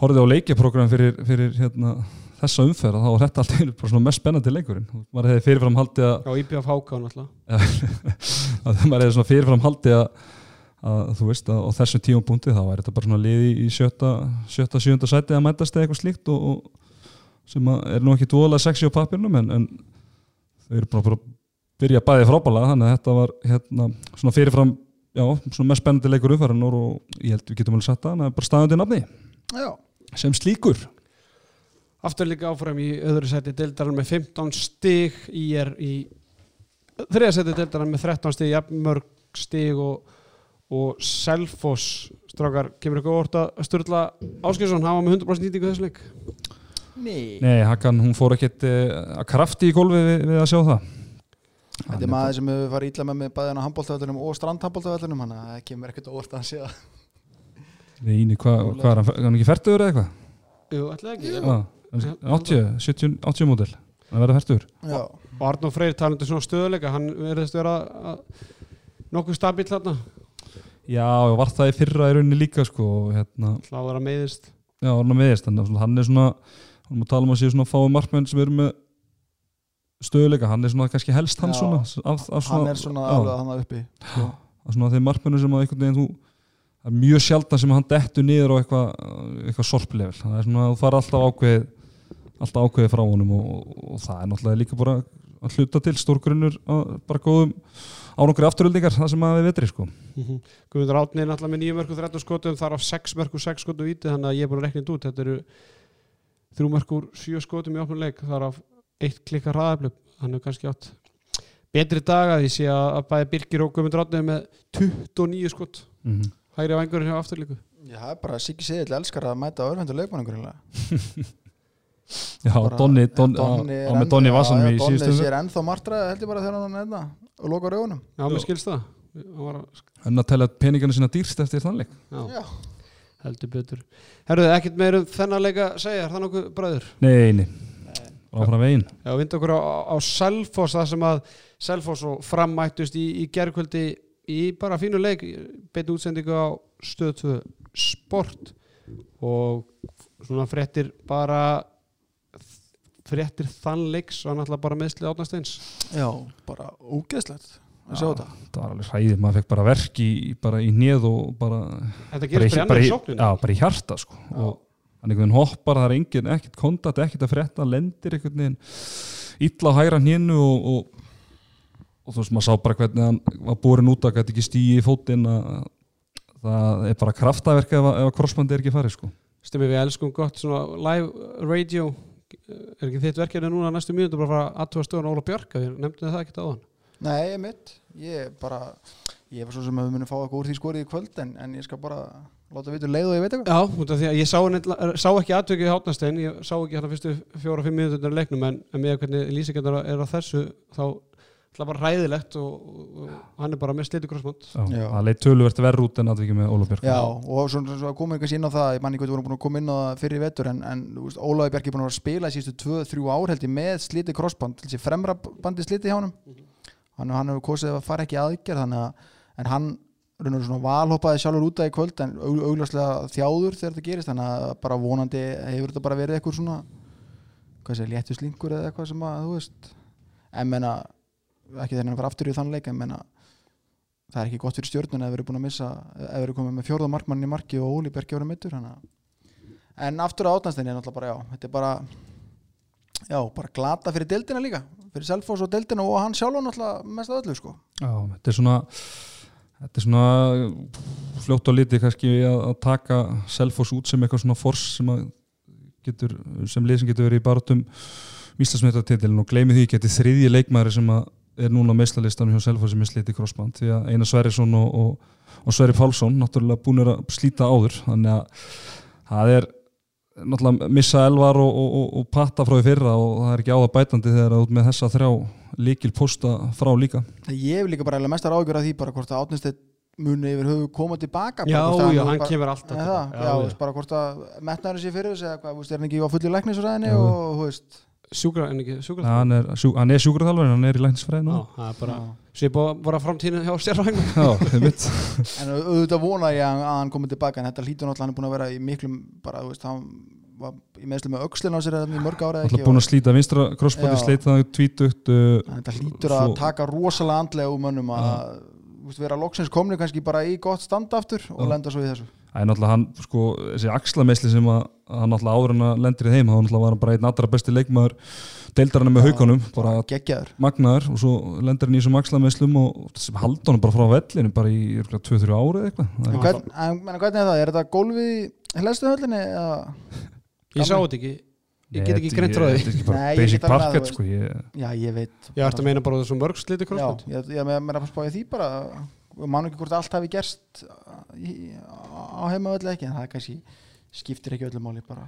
S2: horfði á leikjaprogram fyrir, fyrir hérna, þessa umferð þá var þetta allt í einu bara svona mest spennandi leikurinn maður hefði fyrirfram haldið að
S1: Já, IBF Hákán alltaf.
S2: að maður hefði svona fyrirfram haldið að, að þú veist að á þessum tíum búndið þá væri þetta bara svona liði í sjötta, sjötta sjönda sæti að mætast eða eitthvað slíkt og, og sem að er nú ekki dvoðlega sexy á pappirnum en, en þau eru bara, bara að byrja bæði frábælega þannig að þetta var hérna svona fyrirfram já, svona mest spennandi leikur umfæranar og ég held við getum alveg sagt það, það er bara staðandi nafni
S3: Já,
S2: sem slíkur
S1: Afturleika áfram í öðru seti deildarnar með 15 stig í er í þriða seti deildarnar með 13 stig, jafnmörg stig og, og Selfoss strákar, kemur eitthvað orta Sturla Áskjörsson, hann var með 100% nýtingu í þessu leik.
S3: nei,
S2: Nei, Hakan, hún fór ekkert eh, að krafti í gólfi við, við að sjá það
S3: Þetta er maður sem hefur farið ítla með mig bæðina handbóltavellinum og strandhandbóltavellinum hann að það kemur ekkert á óvart að hann sé að
S2: Íni, hvað hva er hann, er hann ekki færtur eða eitthvað?
S1: Jú, ætlaði ekki.
S2: Já, kannski 80, 70, 80 módel að verða færtur
S3: Já,
S1: Og Arnó Freyr talandi svona stöðuleika, hann verðist vera að- nokkuð stabíl þarna,
S2: já, og var það í fyrra í rauninni líka sko, og hérna,
S1: hláður að meiðist.
S2: já, hann er meðist þannig að svona- hann er svona, hann má tala um að sé svona fáið markmenn sem eru með stöðuleika, hann er svona kannski helst hann
S3: Já.
S2: svona af, af svona,
S3: hann er svona
S2: já,
S3: alveg þannig uppi
S2: af svona þeim markmennu sem að einhvern veginn þú það er mjög sjaldan sem hann dettur niður á eitthvað eitthva sorplevel, það er svona að þú fara alltaf ákveðið alltaf ákveðið frá honum og, og, og það er náttúrulega líka bara að hluta til stórgrunnur að bara góðum ánokkur afturöldingar það sem að við vetri sko
S1: Guðmundur Átni er náttúrulega með 9 mörg og 13 skotum þar af 6 mörg og 6 skotum víti þannig að ég er búin að rekna þetta út þetta eru 3 mörg og 7 skotum í opnum leik þar af 1 klikkar hraðaflöp hann hefur kannski átt betri daga því sé að að bæði Birgir og Guðmundur Átni er með 29 skot
S3: Mhm.
S1: hægri af engurinn hjá afturleiku
S3: Já, það er bara Siggi Siðill elskar að mæta örfendur leikmannum greinlega.
S2: Já,
S3: Bara-
S2: Donni, Donni,
S3: Donni
S2: á,
S3: er
S2: á með
S3: enn-
S2: Donni
S3: já,
S2: Vassanum
S3: já,
S2: í síðustu
S3: Donni
S2: umferð.
S3: sér ennþá martraði held ég bara þegar hann enna og loka raugunum.
S1: Já, mér skilst það Hann var að-
S2: Hann að tella peningana sína dýrst eftir þannleik
S1: Já, heldur betur Herruðu, ekkert meir um þennan leika segja, er það nokkuð bræður?
S2: Nei, nei, áfram veginn
S1: Já, við vinda okkur á, á Selfoss það sem að Selfoss og frammættust í, í gerkvöldi í bara fínu leik beinu útsendingu á stöð 2 sport og svona fréttir bara fréttir þann leiks og hann alltaf bara meðslið átnasteins
S3: Já, bara ógeðslegt að
S2: Já.
S3: sjá þetta
S2: það var alveg hræðið, maður fekk bara verk í, bara í neð og bara
S1: Þetta
S2: bara
S1: gerist
S2: í,
S1: brennur
S2: bara,
S1: í
S2: í,
S1: sókninu
S2: já, bara í hjarta sko. og hann einhvern veginn hoppar það er engin, ekkert kontakt, ekkert að frétta lendir einhvern veginn illa á hægra hnínu og, og, og þú veist maður sá bara hvernig hann var borin út að gæti ekki stíi í fótinn að það er bara kraftaverk ef, að- ef að krossbandi er ekki farið sko.
S1: Stemmi við elskum gott svona live radio er ekki þitt verkefni núna næstu mínútu bara að fara að aðtúa stöðan Óla Björk við nefndum það ekkert á hann
S3: Nei, ég mitt, ég bara ég var svo sem að við munum fá eitthvað úr því skorið í kvöld en, en ég skal bara láta vitur leið og ég veit eitthvað
S1: Já, út af því að ég sá, nefnilega- sá ekki atvikið í hátnastein, ég sá ekki hann að fyrstu fjóra, fimm minútur leiknum en, en með hvernig lýsingarnar er á þessu þá ætla bara hræðilegt og, og, og hann er bara með sliti krossmátt
S2: Já,
S3: Já.
S2: það leit töluvert verð út en aðvikið með Ólafbjörg
S3: Já, og svona svo að koma eitthvað inn á það ég manni hvað þú voru búin að koma inn á það fyrir vetur en, en þú veist, Ólafi Bjarki er búin að vera að spila í sístu 2-3 ár held ég með sliti krossband þessi fremra bandi sliti hjá honum hann, hann hefur kosið að fara ekki í aðgerð þannig að en hann raunar svona valhoppaði sjálfur út að í kvöld en aug- augljóslega þjáður þegar þetta gerist þannig að bara vonandi hefur þetta bara verið eitthvað svona hvað sé, léttu slingur eða eitthvað sem að þú veist en menna, ekki þegar hann var aftur í þann leik en menna það er ekki gott fyrir stjórnuna ef við erum búin að missa ef við erum komið með fjórða markmann í marki og Óli Bergi ára meittur hana. en aftur á átnastinni er náttúrulega bara já þetta er bara já, bara glata fyrir deildina líka fyrir Selfoss og deildina og hann sjálf náttúrulega mest af öllu sko
S2: Já, þetta er svona þetta er svona fljótt á liti kannski að, að taka Selfoss út sem eitthvað svona fors sem að getur, sem lið sem getur verið í barátum Íslandsmetartitilin og gleymi því geti þriðji leikmaður sem að er núna á meistarlistanum hjá Selfoss sem er slitið krossband því að Einar Sverrisson og, og, og Sverri Pálsson náttúrulega búinir að slíta áður þannig að það er náttúrulega missa elvar og, og, og, og patta frá því fyrra og það er ekki áða bætandi þegar að út með þessa þrjá líkil posta frá líka
S3: það ég hef líka bara eiginlega mestar ágjör að því bara hvort að átnastin muni yfir höfu koma tilbaka
S1: Já,
S3: bara, hvort að
S1: já, hann
S3: bara,
S1: kemur alltaf
S3: Nei,
S1: tilbaka.
S3: það, já,
S1: Já,
S3: já,
S1: já.
S3: veist, bara hvort að metnaður sér fyrir þessu eða hvað, þú veist, er hann ekki á fullu læknisræðinni
S2: Já.
S3: og, þú veist,
S1: Sjúkra, en ekki sjúkra
S2: Ja, hann er, sjú, hann er sjúkraþjálfarinn, hann er í læknisfræðinu
S1: Já, það er bara Svipa var að framtíðin hjá stjárfæðinu
S2: Já, einmitt
S3: En au- auðvitað vona ég að að hann komi tilbaka en þetta hlýtur náttúrulega hann er búin að vera í miklum bara, þú veist, hann var í meðslu með öxlin á sér eða í mörg ára
S2: Alltaf búin að slíta vinstra krossbandi
S3: Já.
S2: sleita þannig tvítugt uh,
S3: Þetta hlýtur að
S2: Svo-
S3: taka rosalega andlega úr mönnum að þú veist, vera loksins komni kannski bara í gott stand aftur og
S2: Já.
S3: lenda svo í þessu
S2: Það er náttúrulega hann, sko, þessi axlameisli sem að hann náttúrulega áður en að lendir í þeim þá náttúrulega var hann bara einn allra besti leikmaður deildarana með
S3: Já.
S2: haukunum, bara
S3: Geggjaður
S2: magnaður og svo lendir hann í þessum axlameislum og sem haldi hann bara frá vellinu bara í 2-3 ári eða eitthvað Það
S3: En
S2: er-
S3: hvern- en menna, hvernig er það? Er þetta gólfið í hlæstu höllinni? eða-
S1: Ég sá þetta ekki Ég get ekki
S2: Nei,
S1: greint frá því.
S2: Þetta er ekki
S3: Nei,
S2: bara
S3: ég
S2: basic
S3: get alveg að,
S2: parkett,
S3: þú
S2: sko ég,
S3: Já, ég veit
S1: Ég ætti að meina bara þessu mörg sliti
S3: Já,
S1: krossmátt
S3: ég, ég, ég er að spája því bara mann ekki hvort allt hafi gerst uh, í, á heima öllu ekki en það kannski skiptir ekki öllu máli bara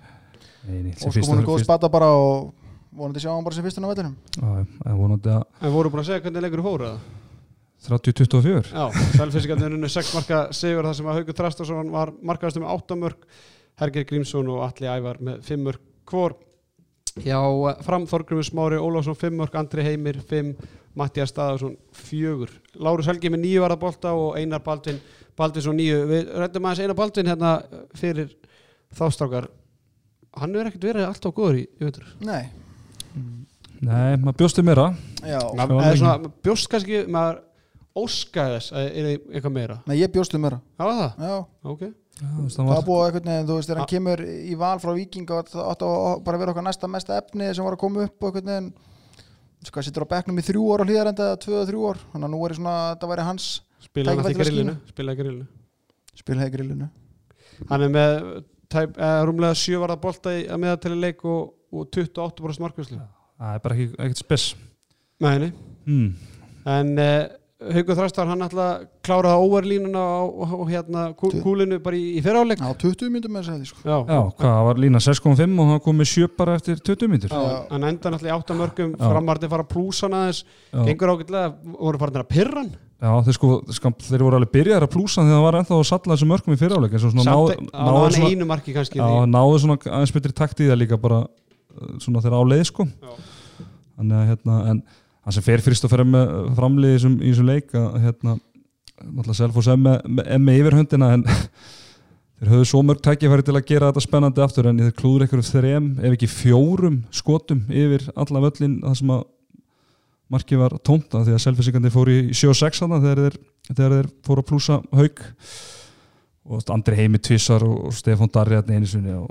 S2: nei, nei, sem
S3: og sko
S2: fyrsta-
S3: hún er góð
S2: fyrst-
S3: spata bara og vonandi sjá hann bara sem fyrstunum á vellinum
S2: Já, já, vonandi að
S1: En voru búin að segja hvernig leikur fóru það
S2: 30-24
S1: Já, Selfissingarnir unnu 6 marka sigur þar sem að Haugur Trastarsson var markaðast með 8 mörg Herger Grímsson og Atli Ævar með 5 mörg hvor Já, fram Þorgrymur Smári Ólafsson 5 mörg, Andri Heimir 5 Mattias Staðarsson 4 Lárus Helgi með 9 varðabólta og Einar Baldvin Baldvinsson 9 Við rættum aðeins Einar Baldvin hérna fyrir þástrákar Hann er ekkert verið alltaf góður í, í veitur
S3: Nei,
S2: Nei, maður bjóstu meira
S3: já
S2: Nei.
S1: maður eða svona, maður bjóst kannski maður óskaði þess að er eitthvað meira
S3: Nei, ég bjóstu mér
S1: það var það,
S3: Já,
S1: ok
S2: Já, þú veist, hann
S3: það
S2: var-
S3: var búið einhvern veginn, þú veist, þegar hann
S1: Ah.
S3: kemur í val frá Víking og það átti að bara vera okkar næsta mesta efni sem var að koma upp og einhvern veginn sko, sittur á bekknum í þrjú ár og hlýðarenda tvö og þrjú ár, þannig að nú er svona, þetta væri hans
S1: spilaði hann
S3: Tækifæri
S1: alltaf í
S3: til að
S1: grillinu spilaði í grillinu
S3: spilhegi grillinu
S1: hann er með tæp, eh, rúmlega 7 varða bolta í, að meðatæli leik og, og 28 bara smarkvæslu
S2: Það er bara ekki, ekkert spes
S1: meðinni
S2: mm.
S1: en uh, Haugur Þrastar hann alltaf kláraði óverlínuna á, á, á hérna kú,
S3: Duð.
S1: kúlinu bara í, í fyrráleik
S3: Já, 20 myndum með þess að því, sko
S1: já,
S2: Já, hvað, það var lína 6.5 og það kom með 7 bara eftir 20 mínútur
S1: Já, hann enda alltaf í 8 mörgum
S2: Já.
S1: framarði fara plúsan aðeins
S2: Já,
S1: gengur ágætlega, voru farin að pirra hann
S2: já þeir, sko, skam, þeir voru alveg byrjar að plúsa þegar það var ennþá að salla þessum mörgum í fyriráleik en svo svona náðu
S1: samt á
S2: náðu
S1: hann
S2: svona,
S1: einu marki kannski
S2: já,
S1: því.
S2: náðu svona aðeins betri takt í það líka bara uh, svona þeirra á leið sko
S1: Já.
S2: Þannig að hérna, en það sem fer fyrst og fer með framliði í þessum- í þessum leik að hérna, náttúrulega Selfoss er með, með, er með yfirhöndina en þeir Þeir höfðu svo mörg tækifæri til að gera þetta spennandi aftur en þeir klúður einhverjum þrem, ef ekki fjórum skotum yfir alla völlin það sem að markið var tómt af því að selfisingandi fór í 7-6 þarna þegar þeir, þegar þeir fóru að plúsa haug og þú veist, Andri Heimi Tvissar og og Stefán Darri þarna einu sinni og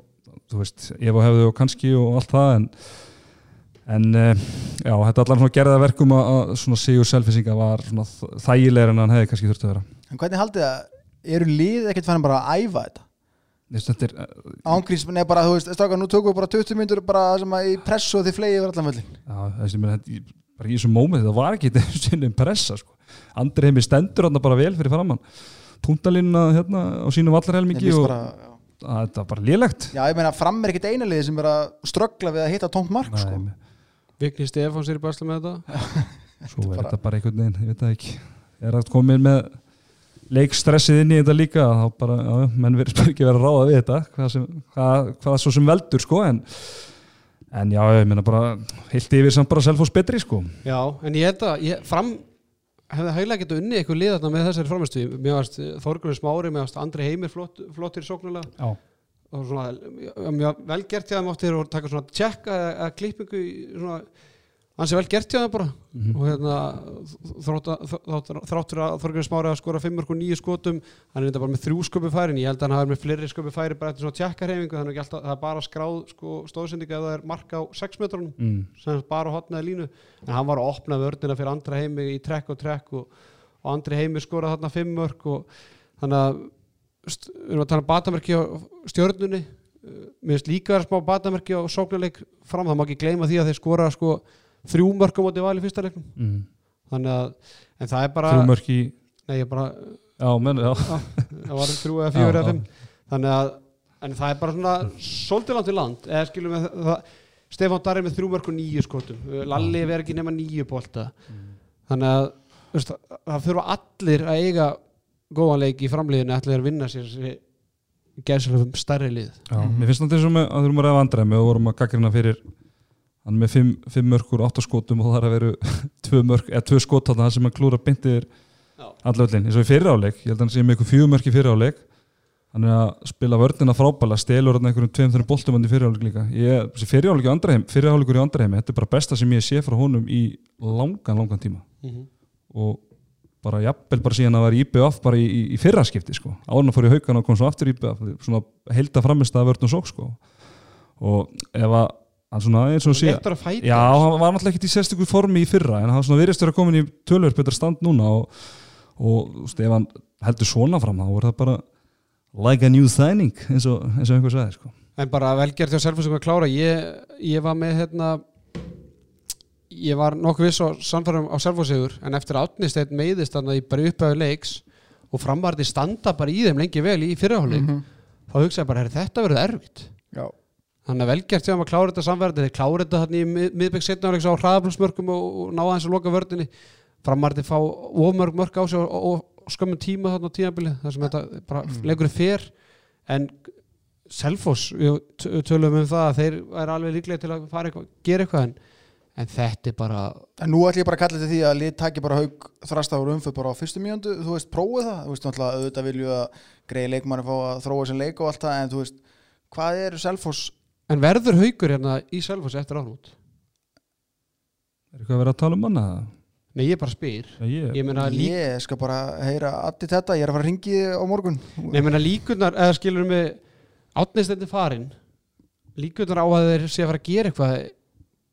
S2: þú veist, ef og hefðu og kannski og allt það en En eh, já, þetta allan svona gerða verkum að, að svona Sigur Selfisinga var svona þ- þægilegri en hann hefði kannski þurft að vera.
S3: En hvernig haldið það eru lið ekkert fannin bara að æfa þetta
S2: Ég veist, Þetta er, eh,
S3: ángríns, nei bara þú veist, strákar nú tökum við bara 20 myndur bara sem að í pressu og þið flegi yfir allan völlin
S2: já, þessi, menn, þetta, bara í þessum móment, þetta var ekki þetta sinnum pressa, sko. Andri heimi stendur hann bara vel fyrir framann. Puntalínuna hérna á sínum
S3: Mér
S2: vallarhelmingi
S3: finnst
S2: og
S3: bara,
S2: að, þetta var bara lélegt.
S3: já ég meina fram er ekkert eina lið sem er að ströggla við að hitta tómt mark sko.
S2: Nei,
S1: Vigni Stefáns er í basla með þetta
S2: svo
S3: Þetta
S2: er
S3: bara-
S2: þetta bara einhvern veginn, ég veit það ekki. Er það komin með leikstressið inn í þetta líka, þá bara, já, menn verður bara ekki verið að ráða við þetta, hvað, sem, hvað, hvað svo sem veldur, sko, en, en já, ég meina bara, heilt yfir samt bara selfos betri, sko.
S1: Já, en ég held að ég, fram hefði hæglega getað unnið eitthvað lið þarna með þessari framhengstu Mér varst Þorgrunni Smári, mér varst Andri Heimir flott, flottir sóknulega
S2: Já,
S1: og svona mjög vel gert hjá þeim áttir og taka svona tjekka eða eða klippingu í svona hans er vel gert hjá þeim bara
S2: Mm.
S1: og hérna þrótt að- þrótt- þráttur að Þorgrið Smári að skora 5 og 9 skotum hann er þetta bara með þrjú sköpu færin ég held að hann hafi með fleiri sköpu færi bara eftir svona tjekka reyfingu þannig að það er bara skráð sko, stóðsendinga ef það er mark á 6 metrunum
S2: mm.
S1: sem sagt bara hotnaði línu en hann var að opna vörnina fyrir andra heimi í trekk og trekk og, og andri heimi skoraði þarna fimm mörg og þannig að st- við erum að tala um batamerki á stjörnunni Uh, mér finnst líka að smá batamerki á sóknuleik fram, það má ekki gleyma því að þeir skora sko þrjú mörg á móti val í fyrsta leiknum
S2: Mm.
S1: þannig að, en það er bara
S2: Þrjú mörk í,
S1: nei, ég bara,
S2: já, menn, já.
S1: það var þrjú eða
S2: Já,
S1: fjögur eða
S2: já.
S1: fimm þannig að, en það er bara svona svolítið langt í land, eða skilum við það- það, Stefán Darri með þrjú mörg og nýju skotum Lalli verður ekki nema nýju bolta
S2: Mm.
S1: þannig að þú veist, það- það þurfa allir að eiga góðan leik í framliðinu allir að vinna sér þessi gæðslega stærri lið
S2: Já, mér finnst þetta eins og með að þurfum að ræða andræmi og vorum að gaggrina fyrir hann er með fimm, fimm mörkur, átta skotum og það er að veru tvö, mörk, eða, tvö skot þarna sem að klúra beintir
S1: Já.
S2: allöllin eins og í fyriráleik, ég held að hann sé með ykkur fjögur mörk í fyriráleik hann er að spila vörnina frábæla stelur hann einhverjum tveim þeirra boltum hann í fyriráleik líka ég, þessi fyriráleik í andræmi, fyriráleikur í andræmi þetta er bara besta sem ég sé frá honum í langan, langan tíma og bara jafnvel bara síðan að vera í IBF bara í, í, í fyrra skipti sko árna fór í haugan og kom svo aftur í IBF svona heilda framist að vörn og sók sko og ef að hann svona eins og sé
S1: Léttur að fæta
S2: já, hann var náttúrulega ekkert í sérstökur formi í fyrra en hann svona virðist vera komin í tölver betra stand núna og, og þú veist, ef hann heldur svona fram þá er það bara like a new signing eins og, eins og einhver sagði sko
S1: En bara velgerð hjá Selfosing að klára ég, ég var með hérna ég var nokkuð viss á samfærum á Selfosingur en eftir að átnist eitt meiðist þannig að ég bara upphæðu leiks og framvarði standa bara í þeim lengi vel í fyrirháleik
S3: Mhm.
S1: þá hugsaði ég bara, herri, þetta verður erfitt
S3: já,
S1: þannig að velgerð hjá þeim að klára þetta samverði þeir klára þetta hann í mið, miðbygg setna á hraðablúsmörkum og, og náða hans að loka vördinni framvarði fá ofmörg mörg á sig og, og, og skömmu tíma þarna á tímabili þar sem þetta bara mm. leikur fer en Selfoss, við t- tölum um það að þeir er alveg líklega til að fara eitthvað, gera eitthvað en, en þetta er bara
S3: en nú ætlum ég bara að kalla þetta því að lið taki bara haug þrasta úr umföð bara á fyrstu mjöndu þú veist, prófið það, þú veist, náttúrulega auðvitað vilju að greiði leikmann að fá að þróa sem leik og allt það, en þú veist, hvað eru Selfoss
S1: en verður haugur hérna í Selfoss eftir áhrút?
S2: er eitthvað að vera að tala um hann að
S1: Nei, ég bara spyr
S2: ég,
S1: ég meina lík,
S3: ég skal bara heyra allir þetta, ég er að fara að ringi á morgun
S1: Nei, ég meina líkurnar, eða skilur mig átnistendin farin líkurnar á að þeir sé að fara að gera eitthvað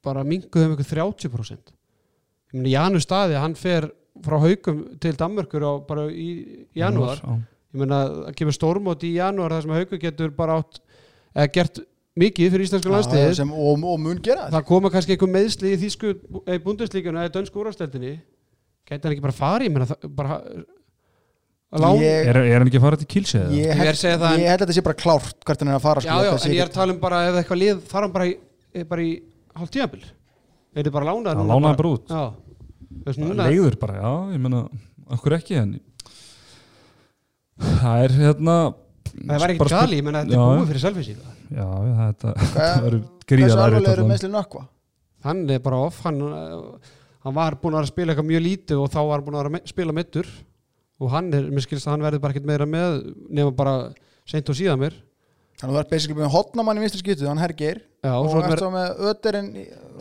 S1: bara um minguðum eitthvað 30% ég meina Janus staði, hann fer frá haugum til Danmörkur á bara í janúar
S2: Já.
S1: ég meina, það kemur stórmót í janúar þar sem haugur getur bara átt eða gert mikið fyrir íslensku landsliðið
S3: sem, og, og mun gera þetta
S1: það koma kannski einhver meðsli í þýsku í bundeslíkjunu eða dönsku úrvarsdeldinni gæti hann ekki bara farið meina, það, bara, lán, ég,
S3: ég,
S2: er, er hann ekki að fara til kílsið eða?
S3: ég,
S1: Ég er að
S3: held-
S1: segja það en-
S3: ég held að þetta sé bara klárt hvert hann er að fara
S1: já,
S3: sko,
S1: já,
S3: þetta sé
S1: en ég er
S3: ekki-
S1: að tala um bara ef eitthvað lið þarf hann bara í, eh, bara í hálft tímabil er þið bara lánaður
S2: Já,
S1: núna
S2: lánaður bara út.
S1: já, Þú veist, núna,
S2: leiður bara, já, ég meina okkur ekki en það er hérna
S1: það var
S2: bara
S1: ekkert
S2: spil-
S1: gali, ég meina þetta
S2: Já,
S1: er
S2: já.
S1: búið fyrir selfisík
S2: já, já, þetta, þetta
S3: Hvað-
S2: verður
S3: hversu
S2: gríðar
S3: alveg eru meðsli nökkva
S1: hann er bara off hann, eh, hann var búin að vera að spila eitthvað mjög lítið og þá var hann búin að vera að me- spila meittur og hann er, mér skilst að hann verði bara ekkert meira með nema bara seint og síðan mér
S3: Þannig að þú ert basically með hotnamann í vinstri skyttu, hann hergir
S1: já, og
S3: og
S1: svo
S3: svo
S1: er mér,
S3: ertu með öðurinn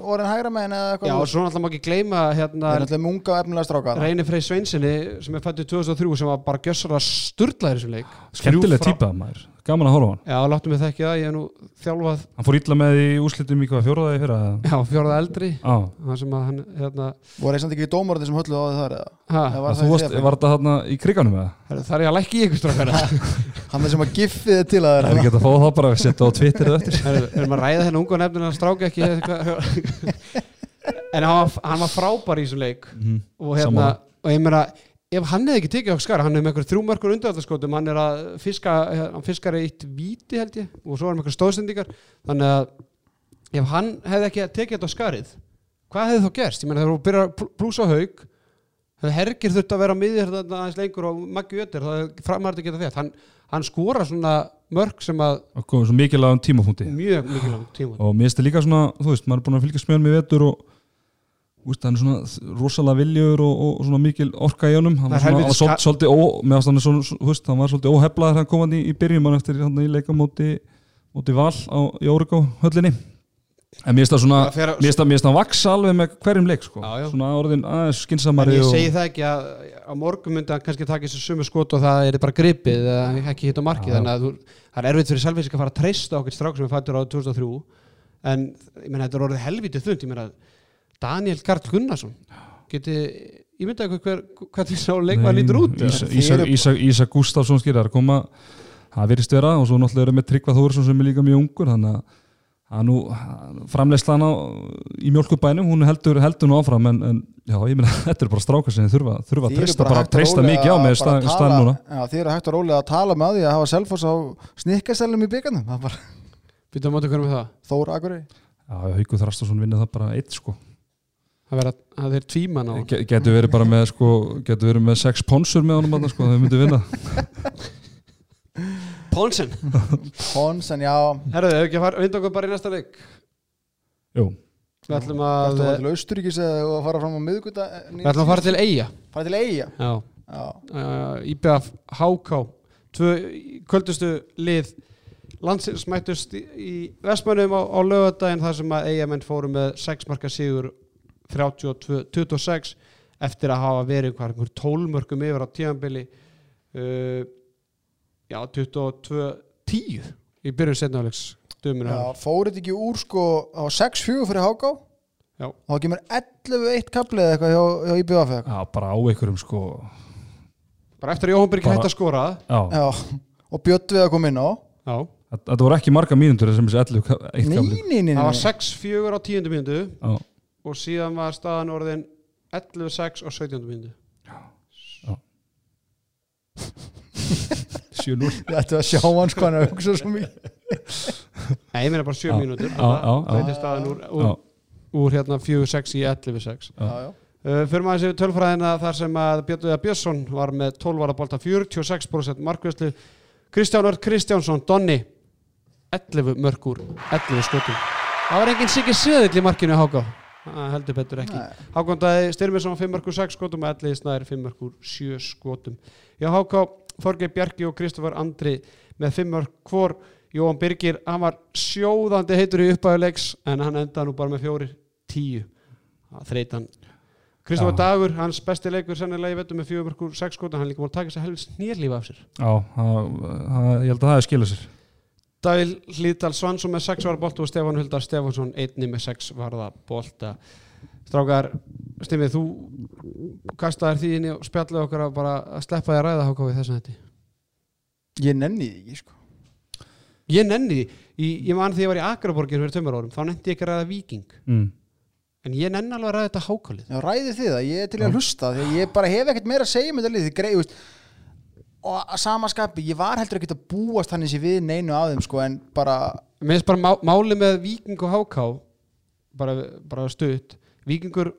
S3: orðin hægra megin eða eitthvað
S1: já, og
S3: úr.
S1: svo náttúrulega má ekki gleyma
S3: Þeir
S1: hérna
S3: eru náttúrulega munga og efnilega stráka þarna.
S1: Reyni Frey Sveinsinni sem er fættu 2003 sem var bara gjössalega sturlaðir í þessum leik
S2: skemmtileg
S1: Þrjú frá-
S2: típa maður, gaman að horfa á hann
S1: Já, láttu mig þekki það, ég er nú þjálfað
S2: hann fór illa með í úslitum í hvað fjóraðaði fyrra eða?
S1: já, fjóraða eldri
S2: á,
S1: það sem að hann, hérna
S3: voru þeir samt ekki dómarandi sem hölluðu á þau þar eða?
S1: ha,
S2: var,
S3: Eða var
S2: Ah, þú
S3: það í
S2: varst,
S3: þriðja
S2: var þetta þarna í kriganum eða?
S1: herru, það er ég að lækki í ykkur strákar
S3: bekk? hann er sem að giffið þið til að
S2: Það er
S3: þeirra
S2: ekki hægt að fá það bara að setja á Twitter eða eftir
S1: Herru, erum að ræða hérna unga nefnir að stráka ekki eða eitthvað? en hann var, hann var frábær í þessum leik
S2: Mhm.
S1: og hérna,
S2: Sammála.
S1: og ég meina ef hann hefði ekki tekið okkur skar, hann hefði með einhver þrjú mörkur undarhaldarskotum, hann er að fiska hann fiskar eitt víti held ég og svo er hann með einhver stóðsendingar þannig að ef hann hefði ekki tekið þetta á skarið hvað hefði þá gerst? ég meina þegar þú byrjar að blúsa haug hefði hergir þurft að vera á miðið þarna aðeins lengur og maggi ötir það hefði framarði geta þetta hann, hann skora svona mörg sem að
S2: og komum svo mikilagum tímapunkti
S1: mjög mikið langt tíma
S2: og mér finnst það líka svona, þú veist, maður er búin að fylgjast með hann með vetur og úst, hann er svona rosalega viljur og, og svona mikil orka í honum hann var
S1: Það er
S2: svona, hann var
S1: helvítis
S2: svolítið, svolítið ó, með ástæðan svona, svona, þú veist, hann var svolítið óheflaður hann kom hann í, í byrjum hann eftir hann í leika móti, móti val á, í Órigó höllinni en mér finnst það svona,
S1: Það fer að-
S2: mér finnst það- mér finnst það vaksa alveg með hverjum leik, sko,
S1: Já, já.
S2: svona orðin aðeins
S1: en
S2: skinsamari
S1: ég
S2: og
S1: segi það ekki að á morgun myndi hann kannski taka þessu sumu skot og það er bara gripið eða ekki hitt á markið
S2: Já.
S1: þannig að þú, það er erfitt fyrir Selvísk að fara að treysta okkur strák sem er fættur á 2003 en ég meina þetta er orðið helvítið þund ég meina Daniel Karl Gunnarsson geti, ég myndi ekki hver, hvað því sá leikmaður
S2: Nei,
S1: lítur út eða?
S2: Ísa, Ísa,
S3: Þeir eru-
S2: Ísa, Ísa Gustafsson skýr er að koma það virðist vera og svo náttúrulega eru með Tryggva Þórsson sem er líka mjög ungur þannig að að nú framleysla hann á í mjölkubænum, hún heldur, heldur nú áfram en, en já, ég meina, þetta er bara strákar sem þurfa, þurfa að treysta, bara, treysta mikið á með stað, stað núna
S3: þið eru hægt að rólega að tala með því að hafa selfos á snikkasælum í byggarnum það er bara
S1: Býttu á móti hvernig með það?
S3: Þór Akurey
S2: Já, Hauku Þrastarsson vinnir það bara eitt sko
S1: Það, vera, það er tvíman á hann.
S2: Ge- Getur verið bara með sko, getur verið með sex ponsur með honum þarna, sko, þau myndu vinna
S1: Ponsen
S3: Pons en já
S1: Herðu, hefur ekki að fara, vinda okkur bara í næsta leik
S2: Jú,
S1: Við ætlum
S3: Þetta
S1: að,
S3: var til Austuríkis eða þú að fara fram á miðguta
S1: við ætlum að fara til Eyja
S3: fara til Eyja
S1: Já
S3: Já.
S1: uh, IBF HK tvö kvöldustu lið landsins mættust í, í Vestmannum á, á lögadaginn þar sem að EMN fóru með 6 marka sigur 32-26 eftir að hafa verið hvað einhver 12 mörgum yfir á tíðanbili uh, já 22-10 í byrjun setnáleiks döminu
S3: Já, fóruð þetta ekki úr sko á 6-4 fyrir Háká
S1: Já.
S3: þá kemur 11-1 kaplið eða eitthvað hjá, hjá IBF eða eitthvað.
S2: já, bara á einhverjum sko
S1: bara eftir að Jóhann Byrki
S2: Bara-
S1: hætti að skora
S2: Já,
S3: Já, og bjött við að koma inn á
S1: já,
S2: þetta þetta voru ekki marga mínútur sem þessi 11 ka- eitt kafli.
S3: Nýninni
S1: það var 6-4 á tíundu mínútu
S2: Já,
S1: og síðan var staðan orðin 11, 6 og 17 mínútu
S2: sjö núl
S3: Þetta var sjá hans hvað hann er að hugsa svo mikið
S1: Nei, ég meina bara 7
S2: Já.
S1: mínútur
S2: Já, já, já.
S1: Það er staðan úr, úr,
S2: Já,
S1: úr hérna 4, 6 í 11, 6
S2: Já.
S3: Já, já.
S1: uh, Fyrir maður sér tölfræðina þar sem að Björn Björnsson var með 12 ára bolta 46% markvæslu Kristján Örn Kristjánsson, Donni 11 mörgur, 11 skotum Það var enginn sikið söðill í markinu Háká Það heldur betur ekki
S3: Nei.
S1: Hákon Dæði Styrmisson 5 mörgur 6 skotum og Elliði Snær 5 mörgur 7 skotum. Já, Háká, Þorgeir Bjarki og Kristofar Andri með 5 mörg hvor. Jóhann Birgir, hann var sjóðandi heitur í uppæðuleiks en hann endaði nú bara með fjórir 10. Það þreytan. Kristofar
S2: Já.
S1: Dagur, hans besti leikur sennilega í vettum með 4 mörgur 6 skotum. Hann er líka múl að taka sér helvins nýrlífa af sér.
S2: já það- það- ég held að það er skilað sér
S1: Dæl Hlítal Svansson með 6 varða bolta og Stefán Huldar Stefánsson einni með 6 varða bolta Strákar, stimmið þú kastaðir því inn og spjallið okkar að bara að sleppa því að ræða háká við þessan þetta
S3: Ég nenni því ekki sko
S1: Ég nenni því, ég, ég man því ég var í Akraborgir fyrir tömur árum, þá nefndi ég ekki að ræða viking
S2: mm.
S1: en ég nenni alveg að ræða þetta hákálið
S3: Já, ræði þið það, ég er til í að hlusta því að ég bara hef ekkert meira að segja með þetta lið þið greið, veist og að sama skapi, ég var heldur ekki að búast þannig sér við neinu af þeim sko en bara,
S1: Mér finnst bara má, máli með viking og háká bara, bara stutt vikingur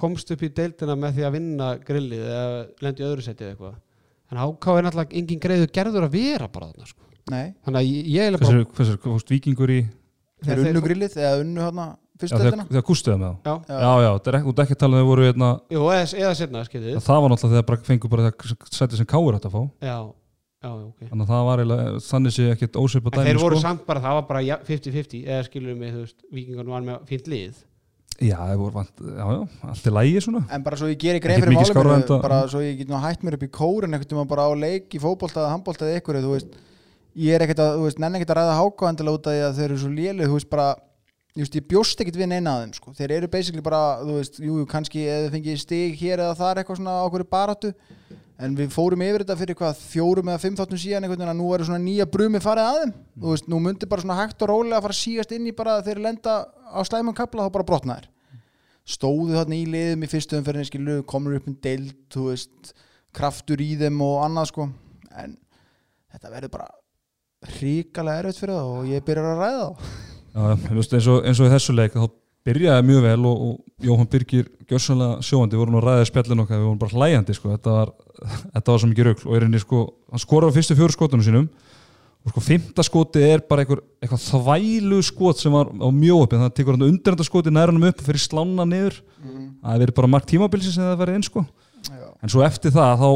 S1: komst upp í deildina með því að vinna grillið eða lendi í öðru setið eða eitthvað en háká er náttúrulega engin greiðu gerður að vera bara þarna sko.
S3: nei,
S1: þannig að ég, ég er bara
S2: hversu, hversu, fórst vikingur í
S3: þeir unnu grillið eða unnu hana
S2: já,
S3: fyrstu
S2: þegar,
S3: eldina
S2: þegar kústuðu með það
S1: já,
S3: Já.
S2: já, já, það er ekki, þú ert ekki að tala um þau voru hérna,
S1: jú, eða, eða setna skilðið
S2: það var náttúrulega þegar bara fengur bara það sætið sem káur átt að fá
S1: já, já, ok
S2: þannig að það var eiginlega, þannig sé ekkert ósveipa
S1: En
S2: dæmi
S1: þeir voru
S2: sko.
S1: samt bara, það var bara ja- 50-50 eða skilur mig, þú veist, vikingarnir var með fínt lið
S2: já, þeir voru vant, já, já, allt er lægi svona
S3: En bara svo ég geri grein
S2: Ekkert
S3: fyrir
S2: mikið
S3: málum
S2: skárra
S3: mínu,
S2: en þetta-
S3: bara svo ég get nú hætt mér upp í kórin einhvern tíma bara á leik í fótbolta eða handbolta eða ykkur, þú veist ég er ekkert að, þú veist, nenni ekkert að ræða háka endilega út af því að þeir eru svo lélu, þú veist, bara ég, veist, ég bjóst ekkert við neina að þeim, sko þeir eru basically bara, þú veist, jú, jú, kannski eða fengið stig hér eða þar eitthvað svona á okkur baráttu, en við fórum yfir þetta fyrir hvað, fjórum eða fimm þáttum síðan einhvern veginn að nú eru svona nýja brumi farið að þeim þú veist, nú myndi bara svona hægt og rólega að fara að sígast inn í bara að þeir lenda á slæmum kapla þá bara brotnaðir stóðu þarna í liðum í fyrstu umferðinni skilu, komur upp um deild, þú veist kraftur í þeim og annað sko en þetta verður bara ríkalega erfitt fyrir það og ég byrjar að ræða þá
S2: Já, já, en veistu, eins, og, eins og í þessu leik þá byrjaði mjög vel og, og Jóhann Birgir gjössanlega sjóandi, við vorum að ræða spjallin okkar, við vorum bara hlæjandi sko, þetta var, þetta var svo mikið rugl og er henni sko, hann skorar á fyrstu fjóru skotunum sínum og sko fymta skoti er bara einhver, eitthvað þvælu skot sem var á mjög uppi, þannig að tekur hann undirhanda skoti nær hann upp og fyrir slána niður það er bara margt tímabilsi sem það verið eins sko
S3: Já.
S2: en svo eftir það þá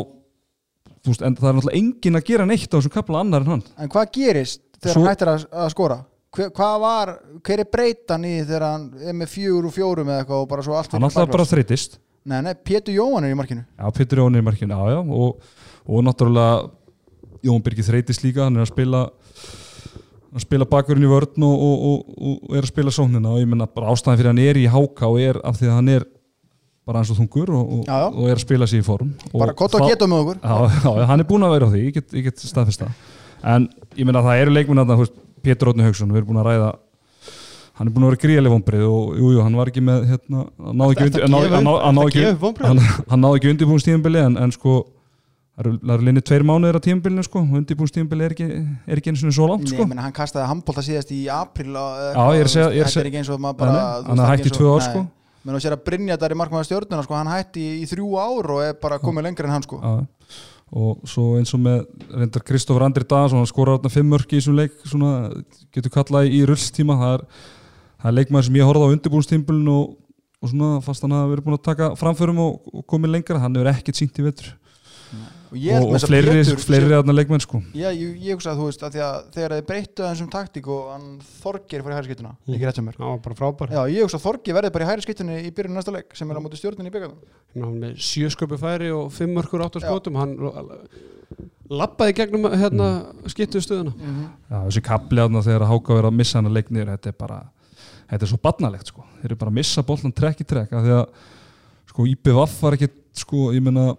S2: þú veist, en það er náttúrulega engin að gera neitt á þessum kapla annar en hann
S3: en hvað gerist þegar
S2: Svo-
S3: hann hættir að, að skora? Hver, hvað var, hver er breytan í þegar hann er með fjögur og fjórum eða eitthvað og bara svo allt
S2: hann
S3: fer í
S2: alltaf bara
S3: baklás?
S2: þreytist
S3: Nei, nei, Pétur Jóhann er í markinu
S2: Já, Pétur Jón er í markinu, já, já og, og náttúrulega Jón Birgir þreytist líka, hann er að spila að spila bakurinn í vörn og, og, og, og er að spila sóknina og ég menna bara ástæðan fyrir hann er í háká er af því að hann er bara eins og þungur og, og,
S3: Já, já.
S2: og er að spila sér í form og
S3: bara kott og
S2: þá-
S3: geta með okkur
S2: Já, já, já, hann er búinn að vera á því, ég get, ég get staðfesta en ég meina það eru leikmenn þarna, þú veist, Pétur Rótni Haugsson, við erum búin að ræða hann er búinn að vera gríðarlega vonbrið og jú, jú, hann var ekki með hérna, hann náði ekki
S1: Ertu
S2: undir
S1: að
S2: hann
S1: gefa upp- ertu að
S2: náði- hann náði- hann náði ekki-
S1: gefa upp vonbrigðin?
S2: hann- hann náði ekki undirbúinstíðanbili en, en sko, það eru- það eru linni tveir mánuðir á tíðanbilinu sko, undirbúinstíðanbili er ekki er ekki eins og svo langt
S3: Nei,
S2: sko
S3: menn hann kastaði handbólta síðast í apríl Já,
S2: Já, ég er að segja- ég er að
S3: Þetta er
S2: segja-
S3: ekki eins og maður
S2: Nei,
S3: bara
S2: nei,
S3: þú
S2: hann
S3: veist,
S2: er
S3: það
S2: hætt
S3: er
S2: í
S3: ekki eins
S2: tvö
S3: og-
S2: ár, sko.
S3: Nei. Menn þú sér að Brynja í markmaður stjórnuna sko, hann hætti í, í þrjú ár og er bara komið lengri en hann sko
S2: Já, og svo eins og með reyndar Kristofur Andri Daðarsson, hann skorar þarna fimm mörki í þessum leik, svona getur kallað í rullstíma, það er, það er leikmaður sem ég horfði á undirbúinstímbulin og, og svona fast hann hafa verið búin að taka framförum og, og komið lengra, hann hefur ekkert sínt í vetur
S3: Og, ég held
S2: og, og
S3: með þess að
S2: fleiri,
S3: Pétur-
S2: fleiri þarna leikmenn sko
S3: Já, ég, ég hugsa að þú veist að, að þegar þið breyttu aðeins um taktík og hann Þorgir fyrir hægri skiptuna
S1: Mm.
S3: ekki rétt sem mér
S1: það var bara frábær
S3: Já, ég hugsa að Þorgir verði bara í hægri skiptunni í byrjun næsta leik sem er á móti stjórnunni í byggarnum
S1: Ná, Hérna hann með sjö sköpu færi og fimm mörkur áttu
S3: Já.
S1: skotum hann l- labbaði gegnum hérna
S3: Mm.
S1: skittu stöðuna
S2: Já, þessi kapli aðna þegar að Háka verið að missa hann að leik niður, þetta er bara þetta er svo barnalegt sko, þeir eru bara að missa boltan trekk í trekk, af því að sko IPVF var ekkit, sko, ég meina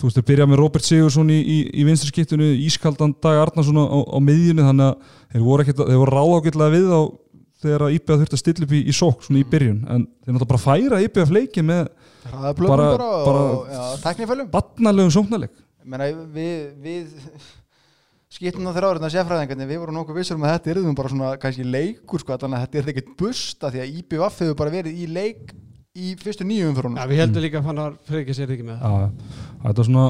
S2: þú veist, þeir byrjað með Robert Sigursson í, í, í vinstri skiptinu, Ískaldan Dag Arnarsson á, á miðjunni, þannig að þeir voru, ekkit, þeir voru ráð ágætlega við á þegar að IPVF þurfti að stilla upp í, í sók svona í byrjun, en þeir náttúrulega bara færa IPVF leiki með
S3: Ræða plöfum
S2: Bara-
S3: bara,
S2: bara-
S3: og já, tæknifælum
S2: barnalegum sóknarleik
S3: Menna, við, við skiptuna þeirra árið að séfræðingarnir, hérna við vorum nokkuð vissur um að þetta yrðum bara svona kannski leikur sko, þannig að þetta yrði ekkert busta því að IBVF hefur bara verið í leik í fyrstu nýjum fyrir hún
S1: Já, við heldum líka að hann var frekið sér ekki með það
S2: Já, já. þetta var svona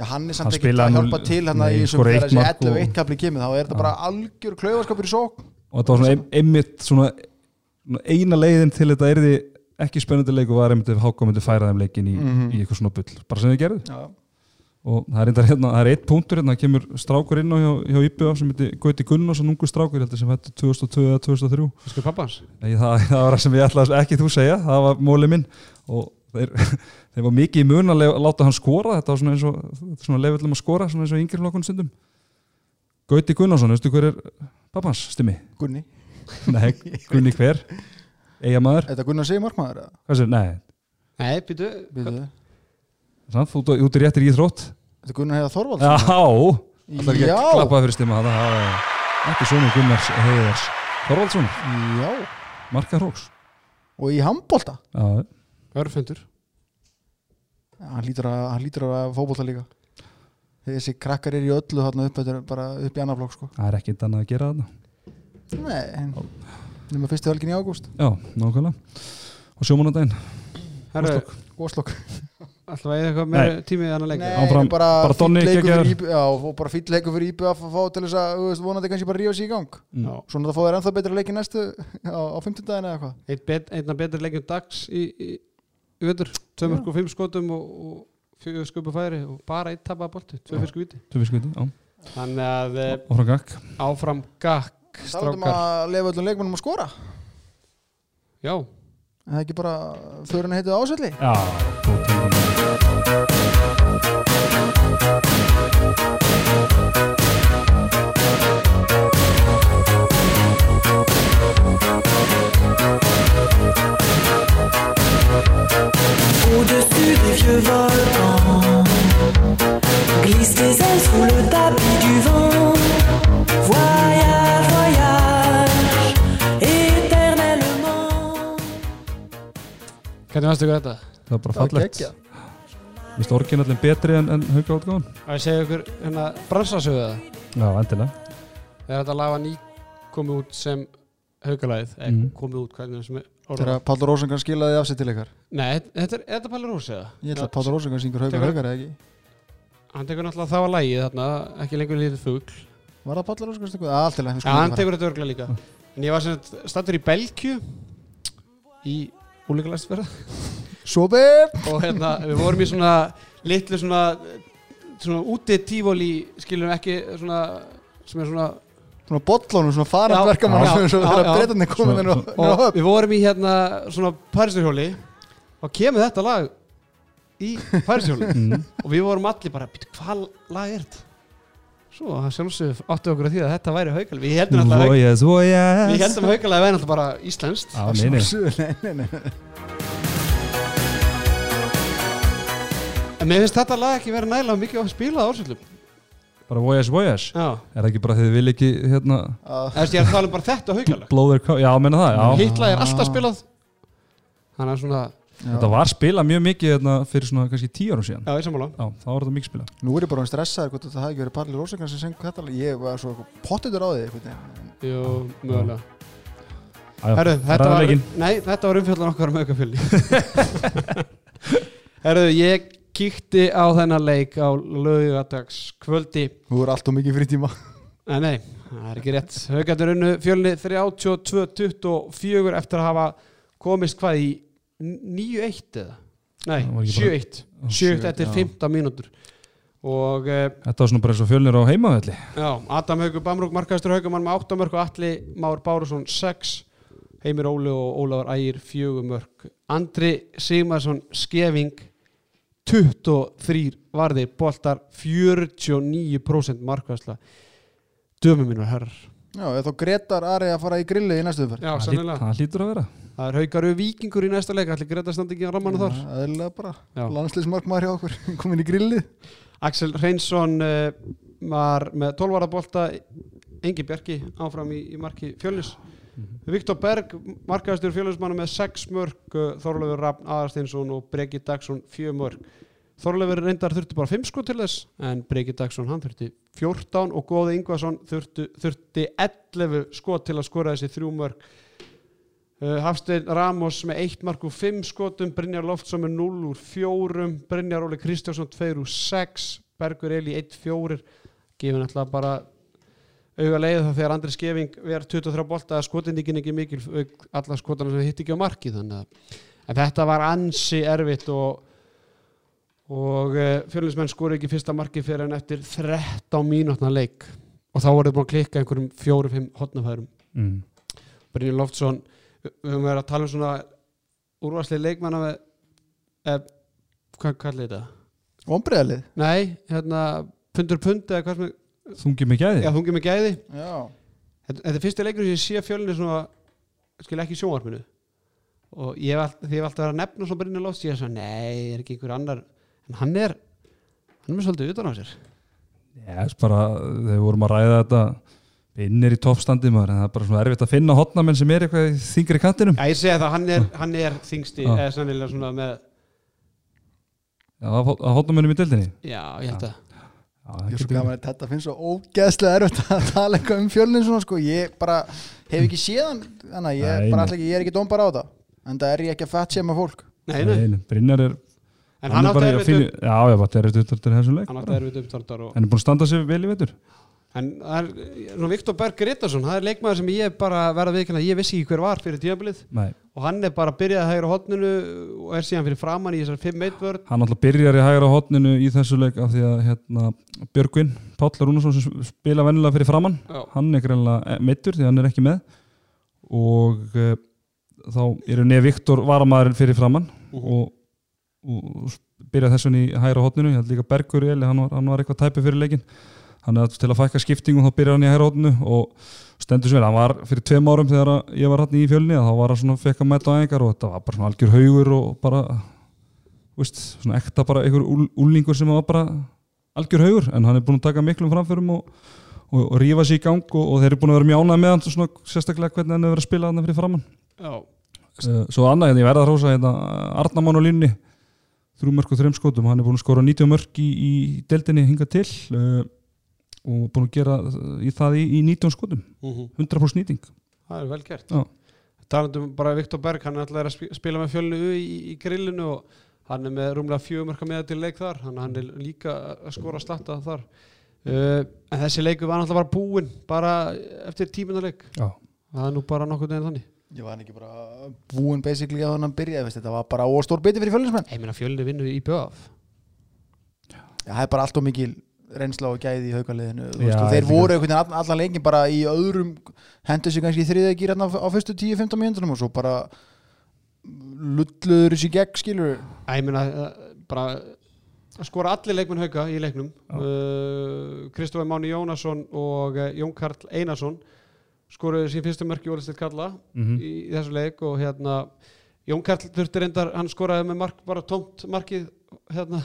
S3: Já, hann er
S2: Hann
S3: samt ekki
S2: spilaði
S3: að
S2: nú-
S3: hjálpa til hann
S2: Nei,
S3: í þessum
S2: skoraði
S3: þegar
S2: eitt
S3: þessi
S2: mark og-
S3: 11 og 1 kapli kemur þá er þetta bara algjör klaufaskapur í sók
S2: og þetta var svona ein, einmitt svona svona eina leiðin til þetta erði ekki spennandi leik og var einmitt ef Háka myndi færa þeim leikin í,
S3: Mhm.
S2: í eitthvað svona bull bara sem þið gerðu
S3: Já,
S2: og það er, reyndar hérna, það er eitt punktur hérna, það kemur strákur inn á hjá, hjá IPA sem heiti Gauti Gunnars og nungu strákur heldur sem hættu 2002 eða 2003
S1: Fiskur pappans
S2: Nei, það, það var það sem ég ætlaði að- ekki þú segja það var móli minn og þeir, þeir var mikið í mun að lef- láta hann skora þetta var svona eins og svona leifillum að skora svona eins og yngri flokkun stundum Gauti Gunnarsson, veistu hver er pappans stimmi?
S3: Gunni
S2: Nei, Gunni hver Eigamæður,
S3: Er þetta Gunnar Sigur markmaður? eða?
S2: hvað sér, nei
S1: Nei, býtu
S3: Býtu.
S2: samt, þú, þú ert réttir í þrótt
S3: Er þetta Gunnar Heiða Þorvald?
S2: Já, það er ekki
S3: Já.
S2: að klappa fyrir stimma það er ekki svona Gunnars Heiðars Þorvaldsson,
S3: Já,
S2: Marka Hróks
S3: og í handbólta
S2: Já,
S1: Örfendur
S3: Hann lítur að, hann lítur að fótbólta líka Þessi krakkar er í öllu þarna upp, þetta er bara upp í annar flokk sko
S2: það er ekkert annað að gera þarna
S3: Nei, nema fyrstu helgin í ágúst
S2: Já, nákvæmlega og sjómanandaginn,
S1: Herru,
S3: Óslokk
S1: alltaf eða eitthvað meira tími í annan leik
S3: Nei,
S2: Áfram,
S3: bara,
S2: bara
S3: fínn
S2: Donni
S3: leikur
S2: geggjaður.
S3: fyrir IB Já, og bara fýll leikur fyrir IBF að fá til þess að, þú veist, vonandi kannski bara rífa sig í gang
S2: Mm,
S1: Já.
S3: Svona það fá þér ennþá betra leiki næstu á, á 15 daginn eða eitthvað
S1: Einn bet, einna betri leikjum dags í, í, í vettur, 2 mörg og 5 skotum og, og fjögur skupu færi og bara eitt tapaða bolti, tvö fyrir skuti
S2: Tvö fiskviti, já,
S1: þannig að eh,
S2: og frá gakk
S1: áfram gakk
S3: Strákar.
S1: strákar
S3: að lefa öllum leikmennum að skora
S1: já,
S3: En það er ekki bara fyrir henni heitið ásvelli
S2: Já, þú tekur það
S4: Au-dessus des vieux volcans Glissent des ailes sous le tapis du vent Voyage, voyage Éternellement
S1: hvernig varstu ykkur þetta?
S2: Það er bara fallegt Mér finnst orginallin betri en, en hauka átgáðan
S1: að ég segja ykkur hérna bransasöðu það
S2: Já, endilega
S1: þegar þetta laga ný komið út sem haukalæðið, eða
S2: Mhm.
S1: komið út hvernig sem er orðað
S3: Þegar Páll Rósengar skilaði af sér til ykkar
S1: nei, þetta- þetta er, er þetta Palli Rós eða?
S3: Ég ætla að Páll Rósengar syngur haukar
S1: Tekur-
S3: haukar eða ekki
S1: hann tekur náttúrulega það að lægið þarna ekki lengur lítið fugl
S3: Var það Páll Rósengar syngur? Allt til
S1: Já, hann tekur þetta örglega líka En ég var sem sagt stattur í Belgju í úlíkalæstverða
S3: Sopir
S1: og hérna, við vorum í svona litlu svona, svona úti tífóli skilum ekki svona sem er svona
S3: Svona bollónum, svona farand
S1: Já, já,
S3: verkamann Svo
S1: já,
S3: þegar
S1: já.
S3: breytarnir komin
S2: Svona-
S3: inn á inn á
S1: og
S3: höfn
S1: við vorum í hérna svona Parísarhjóli og kemur þetta lag í Parísarhjóli
S2: mm.
S1: og við vorum allir bara, "Bíddu, hvað lag er þetta? Svo að sjálfsög áttu okkur að því að þetta væri haukal Við heldum alltaf haukal
S2: Voyas, voyas
S1: Við heldum haukal að það væri alltaf bara íslenskt
S2: Já, nei, nei
S3: Nei, nei, nei
S1: En mér finnst þetta lag ekki verið nægilega mikið að spila á ársöldum.
S2: Bara voyas, voyas
S1: Já.
S2: Er það ekki bara því þið vil ekki, hérna
S3: Að-
S1: Þess að ég er að tala um bara þetta haugalag.
S2: Blow their cover, já, menna það, já
S1: Hittla er alltaf spilað. Þannig að svona,
S2: Þetta
S3: Já.
S2: var spilað mjög mikið hérna, fyrir svona kannski tíu árum síðan
S1: já, ég sammála.
S2: Já, þá var þetta mikið spilað
S3: Nú er ég bara um stressaður hvort þetta hafi ekki verið Palli Rósengar sem sengur þetta lag. Ég var svo pottitur á því einhvern veginn.
S1: Jú, mögulega.
S2: Já, já.
S1: Herðu, þetta
S2: Ræða
S1: var,
S2: leikinn.
S1: nei, þetta var umfjöldan okkar um aukafjölni. Herðu, ég kíkti á þennan leik á lögadags kvöldi.
S3: Þú er allt og mikið frítíma
S1: Nei, nei, það er ekki rétt. Haukarnir unnu fjölni 32-24 eftir að hafa komist hvað í 9-1 eða? Nei,
S2: Það var ekki bara-
S1: 7-1. 7-1 eftir
S3: já.
S1: 15 mínútur. Og eh,
S2: Þetta var svona bara eins og fjölnir á heimavelli
S1: já, Adam Haugur Bamrúk markaðistur Haugumann með 8 mörg og Atli Már Bárusson 6, Heimir Óli og Ólafur Ægir 4 mörg. Andri Sigmarsson Skeving 23 varði boltar 49% markaðisla. Dömi mínu herrar.
S3: Já, eða þá Gretar Ari að fara í grilli í næstu umferð
S1: Já,
S2: Það hlýt-
S1: sannilega.
S2: Það hlýtur að vera
S1: Það er haugaru vikingur í næsta leik, allir Greta standi ekki á rammanum þar.
S3: Það er bara
S1: Já.
S3: landsliðsmarkmaður hjá okkur komin í grilli
S1: Axel Reynsson uh, var með 12 ára bolta, Engi Bjarki áfram í, í marki Fjölnis. Viktor Berg, markaðastur Fjölnismanna með 6 mörg, uh, Þorleifur Rafn Aðarsteinsson og Breki Dagsson 4 mörg. Þorleifur reyndar þurfti bara 5 sko til þess, en Breki Dagsson hann þurfti 14 og Góði Ingvason þurfti, þurfti 11 sko til að skora þessi 3 mörg. Uh, Hafstein Ramos með 1 mark úr 5 skotum, Brynjar Loftsson með 0 úr 4, Brynjar Óli Kristjánsson 2 úr 6, Bergur Eli 1-4, gefur náttúrulega bara auga leið það þegar Andri Skeving verð 23 bolta að skotindíkin ekki mikil auk alla skotana sem hitt ekki á marki þannig að en þetta var ansi erfitt og og uh, fjölinsmenn skori ekki fyrsta marki fyrir en eftir 13 mínútna leik og þá voruð búin að klikka einhverjum fjórum-fimm hotnafærum
S2: mm.
S1: Brynjar Loftsson við við höfum verið að tala um svona úrvarslið leikmanna með, eh, hvað kallir þetta?
S3: Vombriðalið
S1: Nei, hérna pundur pund eða hvað sem er,
S2: Þungi með gæði
S1: já þungið með gæði
S3: Já,
S1: þetta, þetta er fyrsti leikur sem ég sé fjölni svona skil ekki í sjónvarpinu og ég hef alltaf, hef alltaf verið að nefna svona Brynjar Loftsson, ég er svona, nei, er ekki einhver annar en hann er hann er með svolítið utan á sér
S2: Já, þess bara, þegar við vorum að ræða þetta innir í toppstandi maður en það er bara svona erfitt að finna hotnamenn sem er eitthvað í þingri kantinum
S1: Já, ég segi það, hann er, hann er þingsti
S2: Já.
S1: eða sannilega svona með,
S2: Já, að hot- að hotnamennum í deildinni
S1: já, ég
S2: Ah.
S1: held að
S2: Já, það
S3: ég er svo
S2: getur-
S3: gaman að þetta finnst svo ógeðslega erfitt að tala eitthvað um fjölnin svona sko Ég bara hef ekki séð hann Þannig að ég,
S2: Nei,
S3: bara
S2: nei.
S3: ætla ekki, ég er ekki dómbar á þetta En það er ég ekki að fatt séma fólk
S1: Nei, nei,
S2: nei, Brynjar er
S1: en hann
S2: er
S1: átti
S2: bara í að
S1: erfitt um- upp
S2: um- fínu- Já, já, bara erfitt upptaldur í þessum leik
S1: hann
S2: bara.
S1: átti erfitt upptartar og
S2: Hann er búin að standa sér vel í vetur
S1: en það er, svona Viktor Berg Gretarsson það er leikmaður sem ég bara verða viðkynna ég vissi ekki hver var fyrir tíðabilið
S2: Nei,
S1: og hann er bara að byrja að hægra hotninu og er síðan fyrir framann í þessar 5 1 vörð
S2: hann alltaf byrjar í hægra hotninu í þessu leik af því að hérna, Björgvin Páll Rúnarsson sem spila vennilega fyrir framann
S1: Já.
S2: hann er greinlega meittur því að hann er ekki með og uh, þá eru neð Viktor varamaðurinn fyrir framann og, og byrja þessun í hægra hotninu, ég held líka Bergur Eli, hann, var, hann var eitthvað tæpi fyrir leikin hann er til að fækka skiptingum þá byrjar hann í hægra hotninu og stendur sem vel, hann var fyrir tveim árum þegar að ég var hann í fjölni að þá var hann svona fekk að mæta á engar og þetta var bara svona algjör haugur og bara þú veist, svona ekta bara einhver úl- úlingur sem var bara algjör haugur en hann er búin að taka miklum framförum og, og, og rífa sig í gang og, og þeir eru búin að vera mjög ánægð með hann svona, sérstaklega hvernig hann hefur verið að spila hann fyrir framann
S1: já,
S2: Eh, Svo annað, hérna, ég verða að hrósa hérna, Arnamann á línni þrjú mörg og þreim skotum, hann er búin að skora 90 mörg í, í deildinni hinga til eh, og búin að gera eh, í það í, í 19 skotum,
S1: Mhm.
S2: 100% nýting
S1: það er vel gert
S2: Já.
S1: talandum um bara Viktor Berg hann er alltaf að sp- spila með fjölnu í, í grillinu og hann er með rúmlega fjögumörka með til leik þar hann, hann er líka að skora slatta þar uh, en þessi leiku var alltaf bara búinn bara eftir tíminarleik
S2: Já,
S1: það er nú bara nokkuð neginn þannig
S3: Ég var hann ekki bara búin basically að hann byrjaði, veist, þetta var bara óstór biti fyrir fjölinsmenn.
S1: ég meina fjölni vinnur í BF
S3: Já, það er bara allt og mikil reynsla og gæði í haugaliðinu
S2: Já, ég
S3: þeir
S2: líka.
S3: voru einhvern veginn all- allan leikin bara í öðrum hendur sér kannski þriða gýr á, á fyrstu 10-15 mínúndunum og svo bara lulluður þessi gegn skilur
S1: Æ, ég meina eh, bara að skora allir leikmenn hauka í leiknum uh, Kristofa Máni Jónasson og eh, Jón Karl Einarsson skoruðu sín fyrstu mörki Ólistir Kalla
S2: Mhm.
S1: í, í þessu leik og hérna Jón Karl þurfti reyndar, hann skoraði með mark bara tómt markið hérna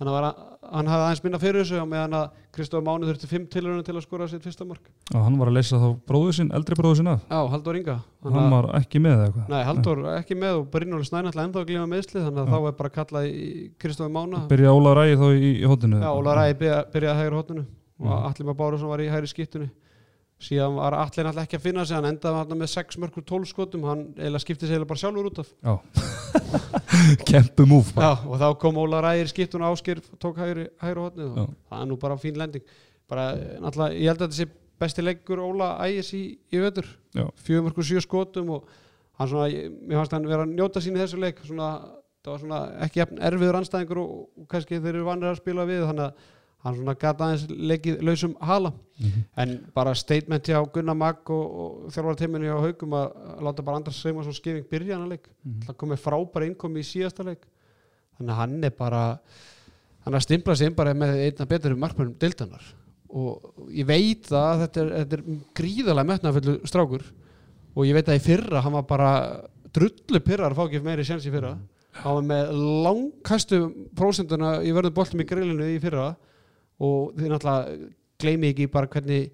S1: Þannig að var að- hann hafði aðeins minna fyrir þessu á meðan að Kristofa Máni þurfti fimm tilurinn til að skora sitt fyrsta mark.
S2: og hann var að leysa þá bróðu sinn, eldri bróðu sinn af
S1: Já, Halldór Inga. Þannig að-
S2: hann var ekki með eða eitthvað
S1: Nei, Halldór ekki með og Brynjóli Snæn alltaf ennþá að glíma meðslið þannig að
S2: Já.
S1: þá er bara að kalla í Kristofi Mána
S2: Byrja Óla Ræði þá í, í hotinu
S1: Já, Óla Ræði byrja- byrjaði að hægri hotninu og Alli Már Bárusson var í hægri skiptunni síðan var Alli náttúrulega ekki að finna sig hann endaði hann með 6 mörgur 12 skotum hann eiginlega skipti sig eiginlega bara sjálfur út af
S2: Kempu múf
S1: Já, og þá kom Óla Ræði í skiptun og Ásker tók hægri, hægri hotnið
S2: Já.
S1: og það er nú bara fín lending bara, eh, náttúrulega, ég held að þetta sé besti leggur Óla Ægis í, í vetur
S2: Já.
S1: fjögur mörgur sjö skotum og hann svona, ég- mér fannst hann vera að njóta sín í þessu leik svona, það var svona ekki jafn erfiður anstæðingur og, og kannski þeir eru vannir að spila við þannig að hann svona gata aðeins leikið lausum hala
S2: Mhm.
S1: en bara statement hjá Gunnar Magg og, og þjálfara teiminu hjá Haugum að, að láta bara Andras Seymar svo skifing byrja hann að leik það komið frábæra innkomi í síðasta leik þannig að hann er bara hann er að stimpla sig inn bara með einna betur markmörnum deildanar og ég veit það að þetta er, þetta er gríðalega metnafullu strákur og ég veit að í fyrra hann var bara drullu pyrrar að fá ekki meiri sjans í fyrra hann var með langkæstu prósenduna í verðum boltum í grillinu í fyrra og þið náttúrulega gleymi ekki bara hvernig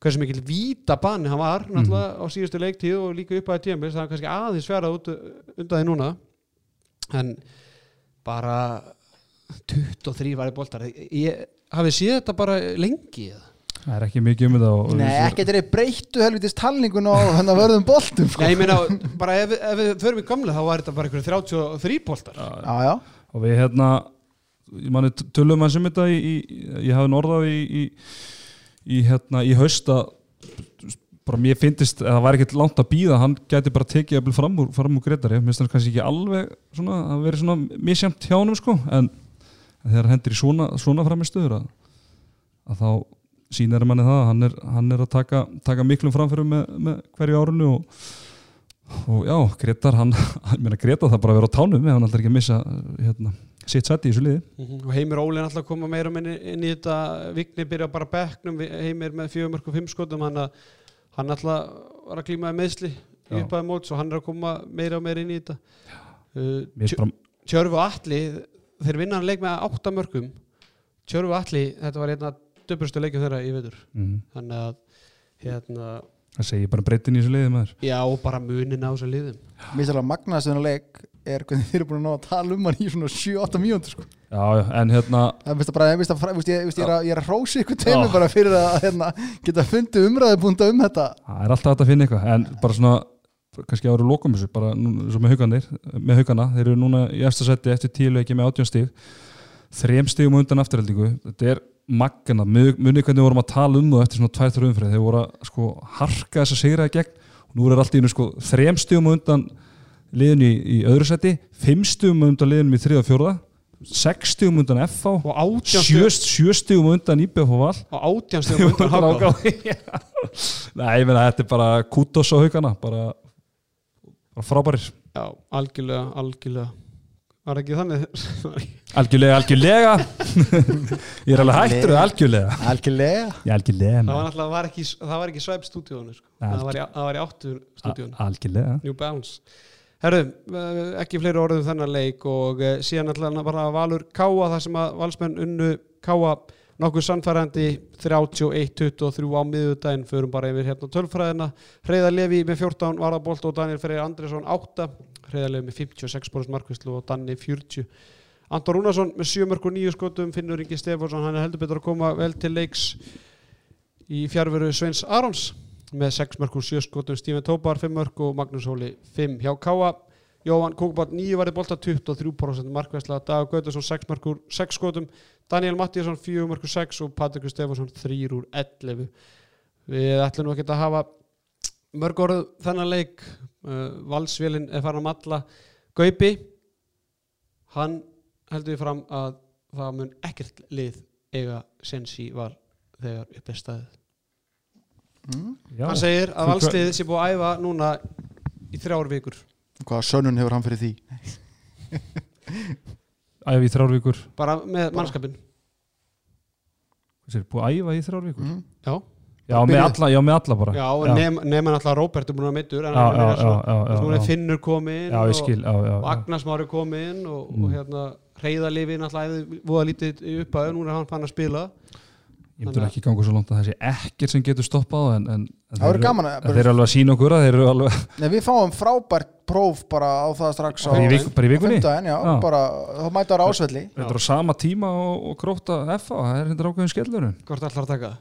S1: hversu mikil víta banni hann var náttúrulega á síðustu leiktíð og líka upp að tíðanbils það er kannski aðeins fjarað út undan því núna en bara 23 var í boltar ég hafi séð þetta bara lengi eða?
S2: Það er ekki mikið um þetta og- og-
S3: Nei, ekki þeir breyttu helvitist talningun og þannig að verðum boltum sko.
S1: Nei, ég meina, bara ef, við- ef við förum í gamla þá var þetta bara einhverjum 33 boltar
S3: Já, já,
S2: og við hérna ég manni tölum að sem um þetta í, í, ég hafi norðað í, í, í hérna í haust að bara mér finnist að það væri ekkert langt að býða hann gæti bara tekið að bli fram úr, fram úr Gretari mér finnst hann kannski ekki alveg svona að veri svona misjamt hjá honum sko en, en þegar hendur í svona, svona framistuður að, að þá sýnir manni það að hann er, hann er að taka, taka miklum framfyrir með, með hverju árunu og og já, Gretar hann, hann meina Greta það bara að vera á tánum ef hann alltaf ekki að missa hérna, sitt sæti í þessu liði
S1: Mhm. og Heimir Óli er alltaf að koma meira minni inn í þetta Vigni byrja bara á bekknum við- Heimir með 4.5 skotum hann, að- hann alltaf var að klíma meðsli
S2: Já.
S1: upp að móts og hann er að koma meira og meira inn í þetta uh,
S2: Mér
S1: Tjö-
S2: bara,
S1: Tjörfu Atli þeir vinna hann leik með 8 mörgum Tjörfu Atli, þetta var einna döpustu leikjum þeirra í vetur
S2: mm,
S1: þannig að hérna,
S2: það segir bara breytin í þessu liði maður
S1: já, og bara munin á þessu liðum
S3: mér sér að magnaðast þennan leik er hvernig þeir eru búin að ná að tala um hann í svona 7-8 mínúndur sko.
S2: já, já, en hérna
S3: Það er mest að bara, ég, að, veist, ég, veist, ég, er að, ég er að hrósa ykkur teimi bara fyrir að hérna, geta fundið umræðubúnda um þetta
S2: það er alltaf hægt að finna eitthvað en bara svona, kannski að vera lokum þessu bara nú- svo með hauganir, með haugana þeir eru núna í eftir sæti eftir tíu leiki með átjón stíg þrem stígum á undan afturheldingu þetta er magna, munið hvernig við vorum að tala um það eftir svona tvær þrjum umfrið, þeir voru að sko harka þess að sigra í gegn og nú er allt í einu sko þrem stjum undan liðinu í, í öðru seti fimm stjum undan liðinu í þriða og fjórða sex stjum undan FH
S1: og átján
S2: sjöst, sjöstigum undan IBF og Val
S1: stjórn undan háká
S2: Nei, ég meina þetta er bara kútos á haugana bara, bara frábærir
S1: já, algjörlega, algjörlega var ekki þannig
S2: Algjörlega, algjörlega Ég er alveg hættur við algjörlega
S3: Algjörlega
S2: Ég er algjörlega
S1: það var
S2: maður.
S1: náttúrulega var ekki, það var ekki svæp stúdíónu sko.
S2: Nei,
S1: það, var í- það var í áttur stúdíónu
S2: Algjörlega
S1: New Bounce Herru, eh, ekki fleiri orðum þennan leik og eh, síðan alltaf bara Valur Káa þar sem að valsmenn unnu Káa nokkuð sannfærandi 31-23 á miðugdæn förum bara yfir hérna tölfræðina Hreiðar Levi með 14 varðabolt og Daniel Freyr Andresson 8 Hreiðar Levi með 56 borðs markvislu og Danni 40 Anton Rúnarsson með 7 mörg og 9 skotum Finnur Ingi Stefánsson, hann er heldur betur að koma vel til leiks í fjárveru Sveins Arons með 6 mörg og 7 skotum Stíven Tópar 5 mörg og Magnús Hóli 5 hjá Káa Jóhann Kókbátt 9 varði bolta 23% markvæsla Dagur Gautarsson 6 mörg og 6 skotum Daniel Mattíasson 4 mörg og 6 og Patrikur Stefánsson 3 úr 11 Við ætlum nú ekki að hafa mörg orð þennan leik uh, Valsvélinn er farin að matla Gaupi hann heldur við fram að það mun ekkert lið eiga sensi val þegar upp er staðið
S3: mm.
S2: Já.
S1: Hann segir að
S2: Þú-
S1: valsliðið sé búið að æfa núna í þrjár vikur
S3: Hvaða sönnun hefur hann fyrir því?
S2: Æfa í þrjár vikur
S1: bara með mannskapin
S2: Þessi er búið að æfa í þrjár vikur
S3: Mm.
S1: Já,
S2: já, með alla, já, með alla bara
S1: Mhm. já
S2: já,
S1: nema nema náttúrulega Róbert er búin að meittur en
S2: já,
S1: hann
S2: já,
S1: er
S2: já,
S1: svona,
S2: já,
S1: þú veist, núna er
S2: já, já.
S1: Finnur kominn
S2: já, ég
S1: og-
S2: skil já, já,
S1: og
S2: já.
S1: Agnars Mári kominn og,
S2: Mm.
S1: og hérna reyðalifi náttúrulega æfði voða lítið í upphæðu, núna er hann fann að spila
S2: Ég myndur ekki ganga svo langt að það sé ekkert sem getur stoppað þá, en, en, en
S3: Það
S2: þeir
S3: verður
S2: eru-
S3: gaman
S2: en
S3: að
S2: þeir eru alveg að sína okkur að þeir eru alveg
S3: Nei, Við fáum frábært próf bara á það strax á
S2: bara í, vik, bara í vikunni
S3: fimmtudaginn, já,
S2: Já.
S3: bara, þá mæta á ásvelli
S2: Þetta er á sama tíma og, og gróta F það er hendur ákveðin skellurinn
S1: hvort ætlar að taka það?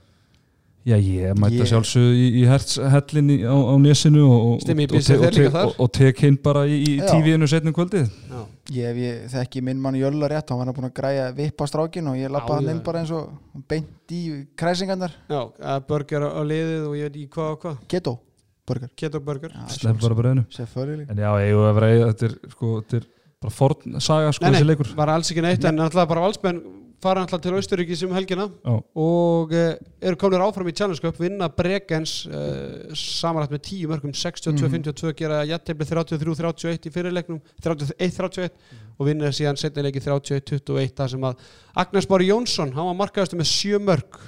S2: Já, ég mæta
S3: Ég-
S2: yeah. sjálfsög í, í herts, hellinni á, á nesinu og, og,
S1: Stimmi í
S2: og,
S1: bílsið
S2: te-
S1: þeir
S2: og,
S1: líka
S2: te-
S1: þar.
S2: og, og tek hinn bara í, í
S3: Já.
S2: tífiðinu setnum um kvöldið
S1: Já.
S3: Ég hef ég þekki minn mann Jölla rétt hann var búin að græja vipp á strákin og ég
S1: Já,
S3: lappa hann
S1: já.
S3: inn bara eins og beint í kræsingarnar
S1: Já, að burger á liðið og ég veit ekki hvað og hvað
S3: keto, burger
S1: keto burger
S2: Slepp bara bröðinu
S3: Seföljuleg
S2: En já, ég hef verið þetta er, sko, þetta er bara forn saga sko,
S1: Nei,
S2: þessi
S1: nei,
S2: leikur
S1: var alls ekki neitt en náttúrulega bara valsmenn fara náttúrulega til Austuríki sem helgina
S2: Já,
S1: og eh, eru komnir áfram í Challenge Cup vinna Bregens eh, samanlagt með 10 mörgum 62-52 gera jættefli 33-31 í fyrirleiknum 31-31 og vinna síðan setnileiki 31-21 þar sem að Agnars Bári Jónsson, hann var markaðastu með 7 mörg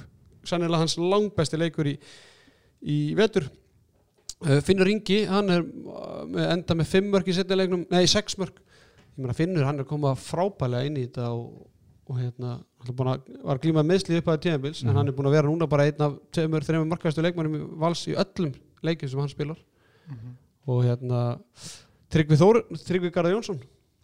S1: sannilega hans langbæsti leikur í, í vetur Eh, Finnur Ingi, hann er eh, með- enda með 5 mörg í setnileiknum nei 6 mörg, ég meina Finnur hann er komað frábælega inn í þetta og og hérna, hann er búinn að, var glímað meðslið upp að tíðanbils, en hann er búin að vera núna bara einn af tveimur, þreimur markaðastu leikmannum í vals í öllum leikjum sem hann spilar og hérna Tryggvi Þór, Tryggvi Garðar Jónsson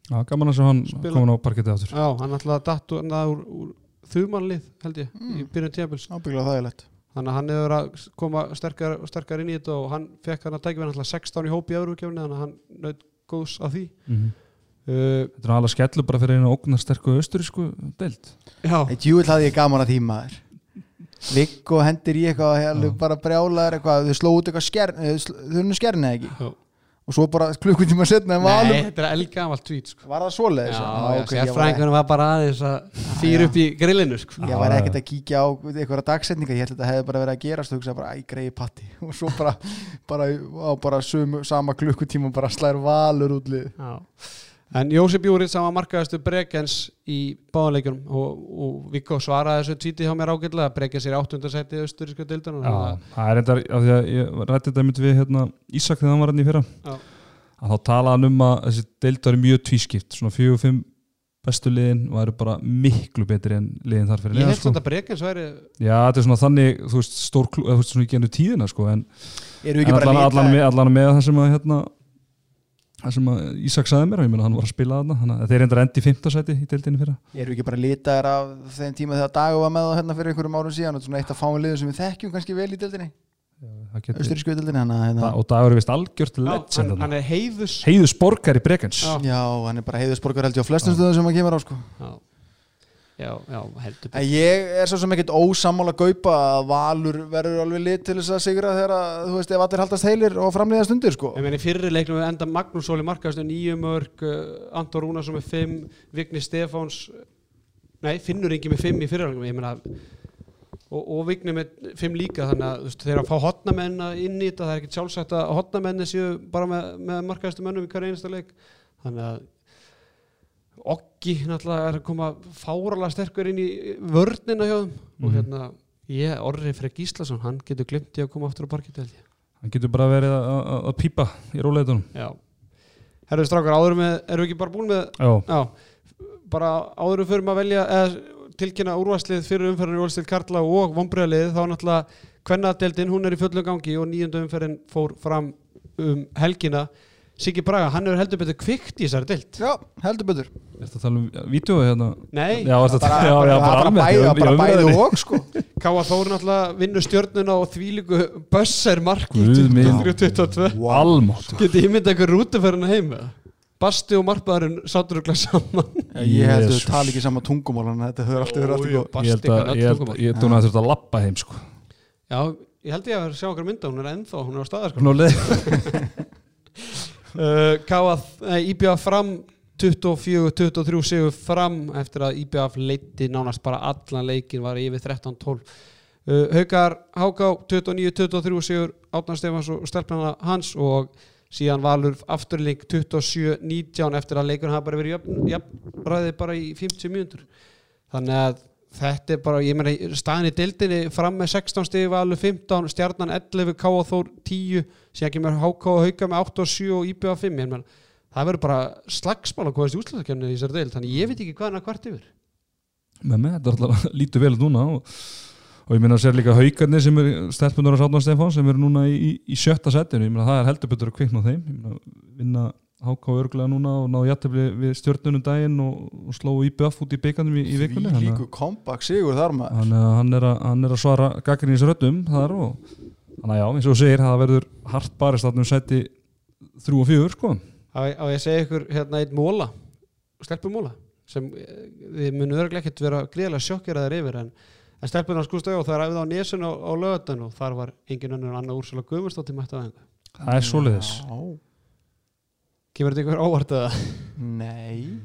S2: já gaman að sjá hann
S1: Spila.
S2: komin á parkettið áttur
S1: já, hann alltaf datt úr, úr, úr þumanlið, held ég,
S3: Mm.
S1: í byrjun tíðanbils
S3: ábygglega þægilegt
S1: þannig að hann hefur að koma sterkar, sterkar inn í þetta og hann fekk hann að tækja hann alltaf 16 í hópi í öðrukefni, þannig að hann naut góðs að því uh,
S2: Mhm. Þetta er alveg skellur bara fyrir einu ógnarsterku austurísku deild
S1: já,
S3: Eitt júvill hafði ég gaman að því maður Viggo hendir í eitthvað heldur bara brjálaður eitthvað þau slóðu út eitthvað skern eh, sl- þau unnu skern eða ekki
S1: Já.
S3: og svo bara klukkutíma setna en
S1: nei,
S3: valur
S1: þetta er elgamalt tvít sko.
S3: var það svoleiðis
S1: Já, já,
S3: ok, ég, var ekki,
S1: sérfræðingunum var bara aðeins að fyrir upp í grillinu sko.
S3: ég var ekkert að kíkja á einhverja dagsetninga ég held að þetta hefði bara verið að gerast og hugsa bara æ, greiði patti og svo bara, bara á bara sömu, sama klukkutíma bara slær valur útlið
S1: Já. En Jósef Júrits, hann var markaðastu Bregens í báðanleikjum og, og Viggo svaraði þessu tvíti hjá mér ágætlega Bregens er í áttundarsæti austuríska deildan
S2: Já, það er reyndar, af því að ég rætti þetta mynd við hérna, Ísak þegar hann var hann í fyrra
S1: Já.
S2: að þá talaði hann um að þessi deildar er mjög tvískipt, svona fjögur og fimm bestu liðin og það eru bara miklu betri en liðin þar
S1: Ég
S2: fyrir neðan, sko.
S1: held þetta Bregens væri
S2: Já, þetta er svona þannig, þú veist, stór klú, eða þú veist, svona í gennu tíðina, sko, en, en
S3: erum við ekki bara
S2: allan,
S3: að
S2: allan,
S3: vita-
S2: með, allan með það sem að, hérna, það sem að Ísak sagði mér, og ég meina, hann var að spila þarna, þannig að þeir reyndar endi í fimmtasæti í deildinni fyrra.
S3: Eru ekki bara litaðir af þeim tíma þegar Dagur var með það hérna fyrir einhverjum árum síðan og svona eitt af fáum liðum sem við þekkjum kannski vel í deildinni
S2: Það geti,
S3: Östurísku deildinni hann að hérna
S2: það, og dagur er vist algjört
S1: Já, hann,
S2: legend, hann,
S1: hann er heiðus
S2: heiðus borgar í brekens.
S1: Já.
S3: Já, hann er bara heiðusborgar held ég á flestum stöðum sem hann kemur á sko
S1: Já. já, já, heldur
S3: En ég er svo sem ekkert ósammála gaupa að Valur verður alveg lit til þess að sigra þegar að, þú veist, ef allir haldast heilir og framlýðast undir, sko.
S1: Ég meina í fyrri leiknum við enda Magnús Óli Markaðsson nýju mörg, uh, Anton Rúnarsson með fimm, Vigni Stefáns nei, Finnur Ingi með fimm í fyrirhaldum ég meina og, og Vigni með fimm líka þannig að þú veist, þegar að fá hotnamenn inn í þetta það er ekkert sjálfsagt að hotnamenni séu bara með, með markaðstu mönnum í hverja einasta leik þannig að Oggi náttúrulega er að koma fáralega sterkur inn í vörnina hjá þeim og
S2: Mhm.
S1: hérna ég, Orri Freyr Gíslason, hann getur glimt í að koma aftur á parkið held ég
S2: hann getur bara verið að- að að pípa í róleitunum
S1: Já Herru strákar, áður með, erum við ekki bara búin með
S2: já,
S1: Já, bara áður við förum að velja eða tilkynna úrvarslið fyrir umferðinu í Úlstil Karla og vombriðalið þá náttúrulega kvennadeldin, hún er í fullu gangi og nýjöndu umferðin fór fram um helgina Siggi Braga, hann hefur heldur betur kvikt í þessari deild
S3: Já, heldur betur.
S2: er þetta að tala um vídeo hérna
S1: Nei,
S2: já, ertu að
S3: Bara,
S2: tala- já, já, bara almennt
S3: bæði,
S2: já,
S3: bara
S2: já,
S3: bæði
S2: umræðinni.
S3: og, sko.
S1: Káa Þór náttúrulega vinnur stjörnuna og þvílíku bösser marki
S2: Guð minn.
S1: 23-22
S2: almátt
S1: Getið ímynda eitthvað rútuferðina heim eða? Basti og marpaðurinn sátur og saman
S3: Ég held að
S2: Jesus.
S3: þau tala ekki sama tungumál, en þetta höfður alltaf verið alltaf góð.
S2: ég held að ég held ég held að hún að þurft að lappa heim sko
S1: Já, ég held ég að sjá okkar mynda, hún er ennþá, hún er á staðar sko.
S2: Svona á leið.
S1: uh, Káað, IBF fram 24-23 sigur fram eftir að IBF leiti nánast bara allan leikin var yfir 13-12 uh, Haukar Háká 29-23 sigur Átnar Stefáns og stelpnana hans og síðan Valur afturling 27-19 eftir að leikurinn hafa bara verið jafn, jafn, ræðið bara í 50 mínútur þannig að þetta er bara, ég meina staðin í deildinni fram með 16 stegi valur 15, stjarnan 11, K og Þór 10, síðan kemur HK og Hauka með 8 og 7 og IB og 5 ég meina, það verður bara slagsmál að komast í útslagskefni í þessari deild, þannig ég veit ekki hvað hann að kvart yfir
S2: með með, þetta er alltaf lítur vel út núna og, og ég meina sér líka haukarnir sem er stelpunar á Sáttan Stefán sem eru núna í, í, í sjötta setinu, ég meina það er heldur betur að kvikna á þeim, ég meina vinna háká örgulega núna og ná jættafli við stjórnunum daginn og, og sló IBF út í byggandum í, í vikunni
S3: Því
S2: þannig
S3: líku kompakt sigur þar
S2: að-
S3: maður.
S2: þannig að hann er að, hann er að svara gaggrinins röddum þar og þannig að já, eins og þú segir, það verður hart barist þarna um seti þrjú og fjögur sko
S1: á, á ég að segja ykkur hérna einn móla stelpumóla sem eh, þið munu örglega ekkert vera gríðlega sjokkeraðar yfir en, en sko, stelpunar skústa og það er æfið á nesun á, á lögatan og þar var engin önnur en Anna Úrsula Guðmundsdóttir mætt á þengu
S2: það er svoleiðis
S3: Já.
S1: kemur þetta ykkur óvart að
S3: Nei.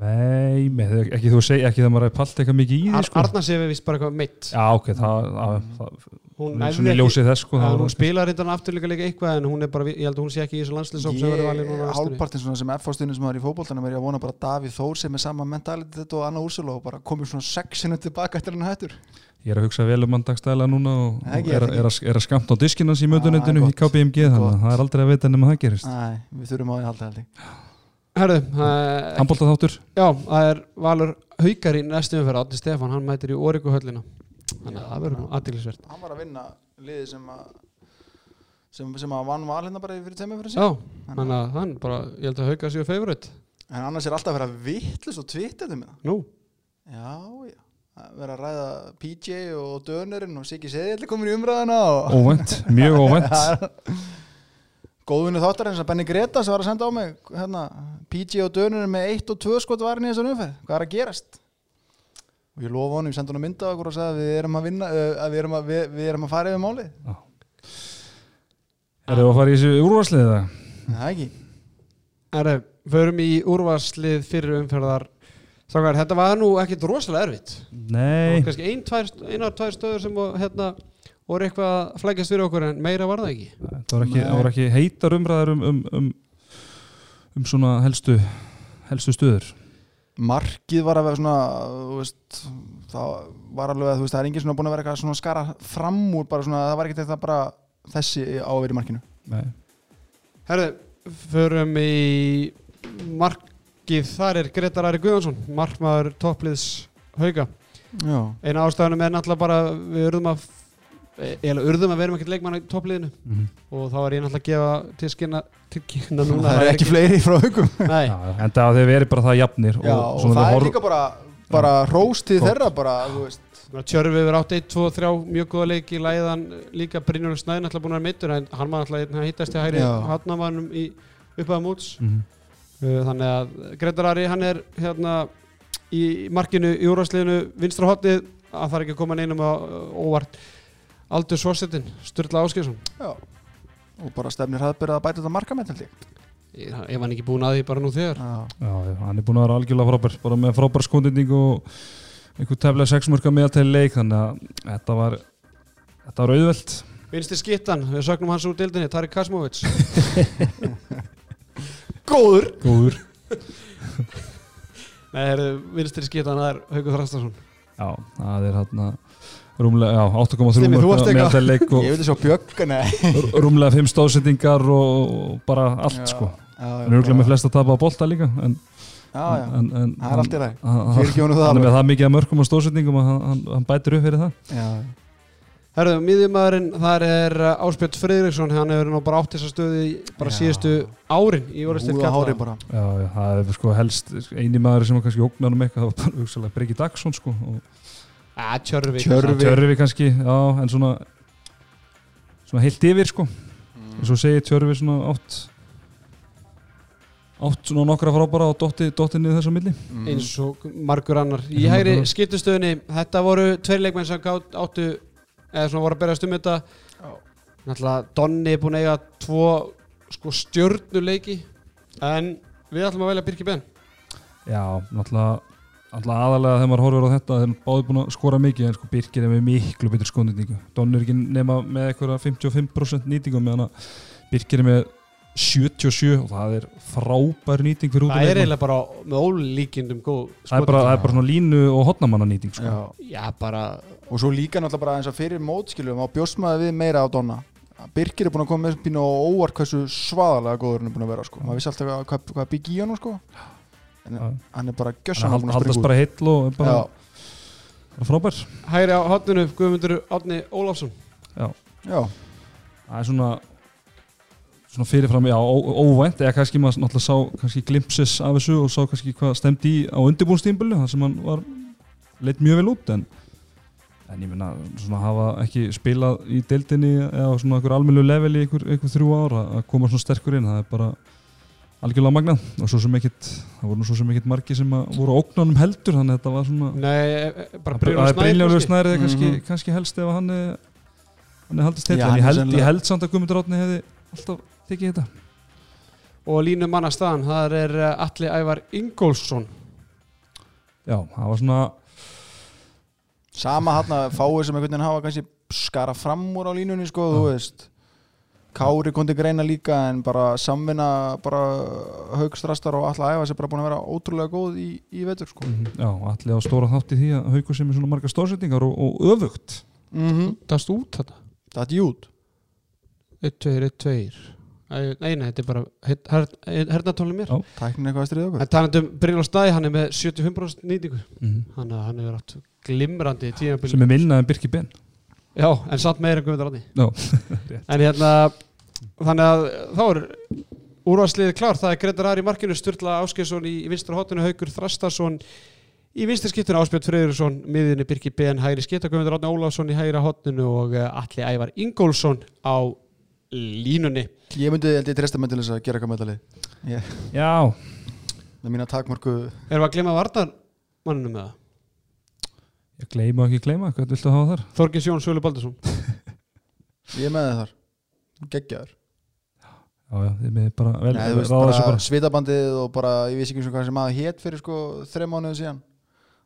S2: nei, með, ekki þú segir ekki það maður er palt eitthvað mikið í því
S1: Ar
S2: sko
S1: Arna sé við vist bara eitthvað meitt
S2: já, ok, það, það, það
S1: hún,
S2: Nei,
S1: æfði
S2: svona í
S1: ekki-
S2: ljósið þess sko,
S1: Já,
S2: það var
S1: hún
S2: ekki-
S1: spilar reyndan afturleika leika eitthvað en hún er bara, ég held að hún sé ekki í þessu landsliðsók sem verður valið
S3: Ég,
S1: núna á næstunni.
S3: hálpartinn svona sem F-fástunum sem var í fótboltanum er ég að vona bara að Davíð Þór sem er sama mentality þetta og Anna Úrsula og bara komið svona sexinu tilbaka eftir hann hættur
S2: Ég er að hugsa vel um hann dagstæðilega núna og,
S3: Það
S2: og
S3: ekki,
S2: er,
S3: það
S2: að- er, að, er að skamta á diskinn hans í mötunendinu
S3: Ah,
S2: í
S3: gott.
S2: KBMG þannig að
S3: Gott.
S2: það er aldrei að vita nema það gerist.
S3: Æ, við þurfum á því að halda held ég
S1: Herðu, uh,
S2: Handbólta þáttur,
S1: já, það er Valur Haukar í næstu umferð, Átni Stefán, hann mætir í Oriku höllina. Þannig að það verður nú aðdýlisvert.
S3: Hann var að vinna liði sem að sem, sem að vann val hérna bara fyrir tveimur fyrir sig
S1: Já, þannig að hann bara, ég held að Haukar séu favorite.
S3: en annars er alltaf að vera vittlust og tvitt þetta með
S1: Nú,
S3: það Já, já Að vera að ræða PJ og Dönerinn og Siggi Seðill er komin í umræðina og
S2: óvænt, mjög óvænt.
S3: góðvinni þáttarins að Benny Greta sem var að senda á mig hérna, PG og Dönurinn með 1 og 2 skot varin í þessar umferð, hvað er að gerast og ég lofa honum, ég sendi honum mynda okkur og sagði að við erum að vinna uh, að við erum að, við, við erum að fara yfir máli
S2: Er það að fara í þessu úrvarslið það?
S3: það ekki,
S1: herðu, eh, förum í úrvarslið fyrir umferðar. Sákar, þetta var nú ekkit rosalega erfitt. Það
S2: Nei,
S1: var kannski ein, tvær, einar, tvær stöður sem voru, hérna, voru eitthvað að flækjast fyrir okkur en meira var það ekki.
S2: það voru ekki,
S3: Nei.
S2: það voru ekki heitar umræðar um, um, um, um svona helstu, helstu stöður.
S3: markið var að vera svona þú veist, það var alveg að þú veist, það er enginn svona búin að vera eitthvað svona skara fram úr bara svona, það var ekkert þetta bara þessi á að vera í markinu
S2: Nei.
S1: Herðu, förum í markið, þar er Gretar Ari Guðjónsson, markmaður toppliðs hauga.
S3: já,
S1: Einu ástæðanum er náttúrulega bara, við urðum að, eða urðum að verum ekkert leikmann í toppliðinu
S2: Mhm.
S1: og þá var ég náttúrulega að gefa til skynna, til kynna núna.
S3: það er ekki fleiri frá hugum
S1: Nei,
S2: Já, já. En það hefur verið bara það jafnir.
S3: já, og, það er líka bara, bara róstið þeirra bara, þú veist
S1: Tjörfi verið átt 1, 2, 3, mjög góða leiki, Læðan líka Brynjólf Snæði náttúrulega búin að vera meittur en hann var náttúrulega einn að hittast í hægri
S3: Já.
S1: hátnamannum í uppaða múts.
S2: Mm
S1: Uh, þannig að Gretar Ari hann er hérna í markinu í úrvarsliðinu vinstra hotnið að það er ekki að koma neinum á uh, óvart Aldur Svorsetin, Sturla Áskjesson
S3: Já. og bara stefnir hraðbyrða að bæta þetta markamenn held ég.
S1: ef hann ekki búin að því bara nú þegar
S3: Já.
S2: Já, já, hann er búin að vera algjörlega frábær bara með frábær skondinning og einhver tefla sexmörka meðaltæli leik þannig að þetta var þetta var auðvelt
S1: Vinstri skittan, við sögnum hans úr dildinni, Tarik Kasmovits Góður
S2: Góður
S1: Nei, heyrðu, vinstri skittan það er Haukur Þrastarsson
S2: Já, það er hérna rúmlega, já, 8,3
S1: Stimmi, þú varst
S2: mörka
S1: eitthvað.
S2: meðaltæli leik
S3: Ég
S2: og
S3: vildi sjá bjöggana
S2: r- rúmlega 5 stóðsendingar og og bara allt sko Hann er örgulega með flest að tapa að bolta líka en,
S3: Já, já,
S2: en, en
S3: það er allt í ræð
S2: hann, hann,
S3: Fyrir kjónu um það
S2: hann er
S3: alveg.
S2: með það mikið að mörkum og stóðsendingum að hann, hann, hann bætir upp fyrir það
S3: Já,
S1: Herðu, miðjumæðurinn, þar er uh, Áspjöld Friðriksson, hann hefur nú bara átt þessa stöðu í bara
S3: Já.
S1: síðustu árin í orðistil
S3: húða hári bara
S2: Já, já, það er sko helst eini maður sem var kannski ógnarum eitthvað, það var bara hugsalega Breki Dagsson sko og
S1: Ja, Tjörvi
S3: Tjörvi.
S2: Tjörvi kannski, já, en svona svona heilt yfir sko eins og segi Tjörvi svona átt átt svona nokkra frábara og dotti, dotti niður þess á milli
S1: eins og margur annar í
S2: Eins og
S1: hægri
S2: margur annar.
S1: skiptustöðunni þetta voru tveir leikmenn sem gát, áttu eða svona voru að berjast um þetta náttúrulega Donni er búin að eiga tvo sko stjörnuleiki en við ætlum að velja Birki Ben
S2: Já, náttúrulega náttúrulega aðalega þegar maður horfir á þetta þeir eru báði búin að skora mikið en sko Birkir er með miklu betur skondinningu Don er ekki nema með eitthvað 55% nýtingu meðan að Birkir er með 77 og það er frábær nýting fyrir út
S1: það er eiginlega bara með ólíkindum góð
S2: það er bara, það er bara svona línu og hotnamanna nýting sko.
S3: Já.
S1: já bara
S3: Og svo líka náttúrulega bara eins og fyrir mótskiljum á bjósmaði við meira á Donna Birgir er búin að koma með pínu og óvart hversu svaðalega góður hann er búin að vera sko. maður vissi alltaf hvað, hvað, hvað byggi í honum sko. en
S2: Já.
S3: hann er bara
S2: Þannig að
S3: gjössan
S2: hald- haldast bara heill og er bara,
S3: já,
S2: bara frábær
S1: hægri á hotninu Guðmundur Átni Ólafsson
S3: já,
S2: það er svona svona fyrirfram, já, ó- óvænt eða kannski maður náttúrulega sá kannski glimpsis af þessu og sá kannski hvað stemdi í á undirbúnstímbulu þar sem hann var leitt mjög vel út en, en ég meina svona hafa ekki spilað í deildinni eða á svona einhver almennlu level í einhver, einhver þrjú ára að koma svona sterkur inn það er bara algjörlega magnað og svo sem ekkit, það voru nú svo sem ekkit margi sem að voru óknanum heldur þannig að þetta var svona
S1: nei e- e- bara
S2: Það er Brynjólfur
S1: Brynjólfur Snær
S2: Snærið kannski,
S3: Mhm.
S2: kannski helst ef hann er, hann er haldist til
S3: Já,
S2: en
S3: hann
S2: ég
S3: er
S2: held, ég
S3: sennilega-
S2: held samt að Guðmundur Átni hefði alltaf tekið þetta
S1: og línu mannastaðan það er eh, Atli Ævar Ingólfsson
S2: Já, það var svona
S3: sama hann að fáið sem einhvern veginn hafa kannski skara fram úr á línunni sko, þú veist Kári kom til greina líka en bara samvinna bara haugstrastar og alla æfa sem bara búin að vera ótrúlega góð í, í vetur sko.
S2: Já, allir á stóra þátt í því að haukur sem er svona marga stórsetningar og, og öfugt
S3: mm -hmm.
S1: dast út þetta
S3: Það er jút
S1: 1, 2, 1, 2 Æ, Nei, nei, þetta er bara her- her- hernatónlega mér
S2: Já.
S3: Tæknin eitthvað að stríða okkur
S1: En talandum Brynjólf Snæ, hann er með 75% nýtingu
S3: Mhm.
S2: mm
S1: Hann, hann hefur átt glimrandi tímabil
S2: sem er minna en Birki Ben
S1: Já, en samt meira en Guðmundur Átni
S2: Já.
S1: En hérna, þannig að þá er úrvarsliðið klár Það er Gretar Ari í markinu, Sturla Áskeiðsson í vinstra hotinu Haukur Þrastarsson í vinstra skiptinu Áspjöld Freyðursson miðinni Birki Ben, hægri skipta Guðmundur Átni Ólafsson í hægra hotinu og eh, Atli Ævar Ingólfsson á línunni
S3: Ég myndi held ég treysta mig til þess að gera eitthvað með þetta lið Ég-
S2: Já,
S3: Með mína takmörku
S1: Erum við að glima varnar manninu með það?
S2: ég gleyma og ekki gleyma, hvað viltu hafa þar?
S1: Þorgis Jón Sölu Baldursson
S3: Ég er með það þar Geggjaður
S2: Já, já, þið með bara vel
S3: Nei, þú veist,
S2: ráða þessu
S3: bara
S2: bara
S3: svitabandið og bara ég vissi ekki eins og hvað sem maður hétt fyrir sko þreim mánuðu síðan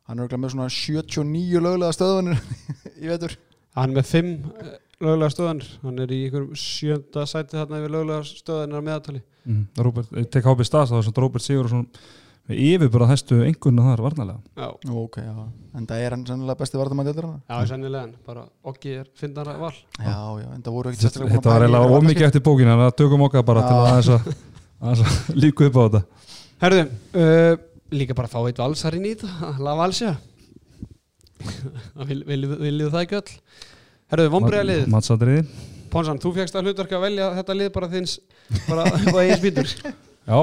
S3: Hann er örugglega með svona 79 löglega stöðunir í vetur
S1: Hann er með fimm eh, löglega stöðanir Hann er í einhverjum sjönda sæti þarna yfir löglega stöðanir að meðatali
S2: mm, Robert, eh, Tek hápið stað, það var svona Robert Sigurðsson með yfir bara hæstu engurna þar varnalega
S1: Já,
S3: Nú, ok, já En það er hann sennilega besti vartamann deildur hann
S1: já mm. sennilega hann Bara okki er fyndara val
S3: Já, já, en það voru ekkert sérstaklega búin
S2: Þetta var
S3: að pæla í
S2: eiginlega
S3: einhverju
S2: ómikið eftir bókina þannig að tökum okkar bara til
S3: Já.
S2: að aðeins að, aðeins að líka upp á þetta
S1: Herðu, uh, líka bara fá eitt valsar inn í þetta La Valsja Viljum vil, vil, vil það ekki öll Herðu, vonbreiða liðið
S2: Matsadriði
S1: Ponsan, þú fegst að hlutverka að velja þetta lið bara þins bara það ég spýtur
S2: Já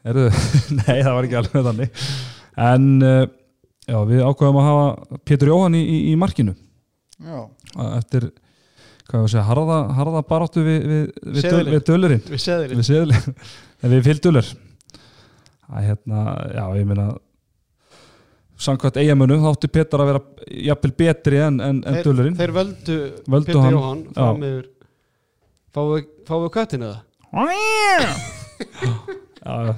S2: Erðu Nei, það var ekki alveg þannig En uh, já, við ákveðum að hafa Pétur Jóhann í, í, í markinu
S3: Já,
S2: Að- eftir hvað ég að segja, harða, harða baráttu við, við, við, döl,
S1: Seðilinn.
S2: við dölurinn
S1: Við seðir
S2: við, seðilinn. En við fylgdölur að hérna, já ég meina samkvæmt eigamönu þá átti Petar að vera jafnvel betri en, en, en
S1: þeir,
S2: dölurinn
S1: þeir völdu,
S2: Völdu
S1: Pétur
S2: hann,
S1: Jóhann fram yfir fáum við, fáum við köttinu það
S2: Já,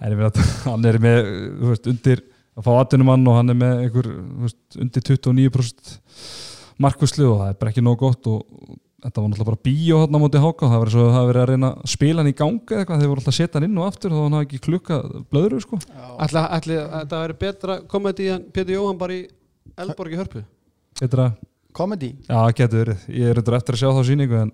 S2: en ég meina að hann er með þú veist, undir að fá atvinnumann og hann er með einhver þú veist, undir 29% markvislu og það er bara ekki nóg gott og þetta var náttúrulega bara bíó hann á móti háka það var eins og það var verið að reyna að spila hann í ganga eitthvað þeir voru alltaf að setja hann inn og aftur þá hann hafði ekki klukka blöðru sko
S3: Já.
S1: Ætli, ætli að það væri betra komið í hann Pétur Jóhann bara í Elborg í Hörpu
S2: Þetta,
S3: Comedy
S2: já, getur verið, ég er reyndar eftir að sjá þá síningu en,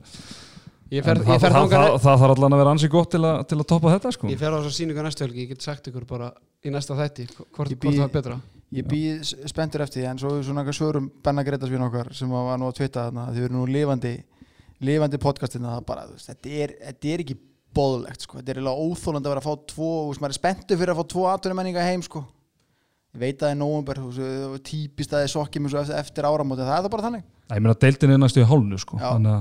S1: ég fer,
S2: en
S1: ég
S2: það,
S1: fer
S2: það,
S1: þangað e-
S2: það, það þarf allan að vera ansi gott til, að til að toppa þetta sko
S1: Ég fer á þess að síningu næstu helgi, ég get sagt ykkur bara í næsta þætti, hvort,
S3: Ég
S1: hvort það
S3: bý-
S1: er betra
S3: Ég býð s- spenntur eftir því en svo svona einhver svörum Benna Gretarsvín okkar sem var nú að tvita þarna þið eru nú lifandi lifandi podcastina það bara þú veist, þetta, er, þetta er ekki boðlegt sko þetta er eiginlega óþólandi að vera að fá tvo þú veist, maður er spenntur fyrir að fá tvo atvinnumenninga heim sko ég veit að það er nóvumber típist að þið sokkið mér svo eftir, eftir áramóti það er það bara þannig
S2: Já, ég meina deildin er næstu í hálnu sko
S3: Já.
S2: þannig að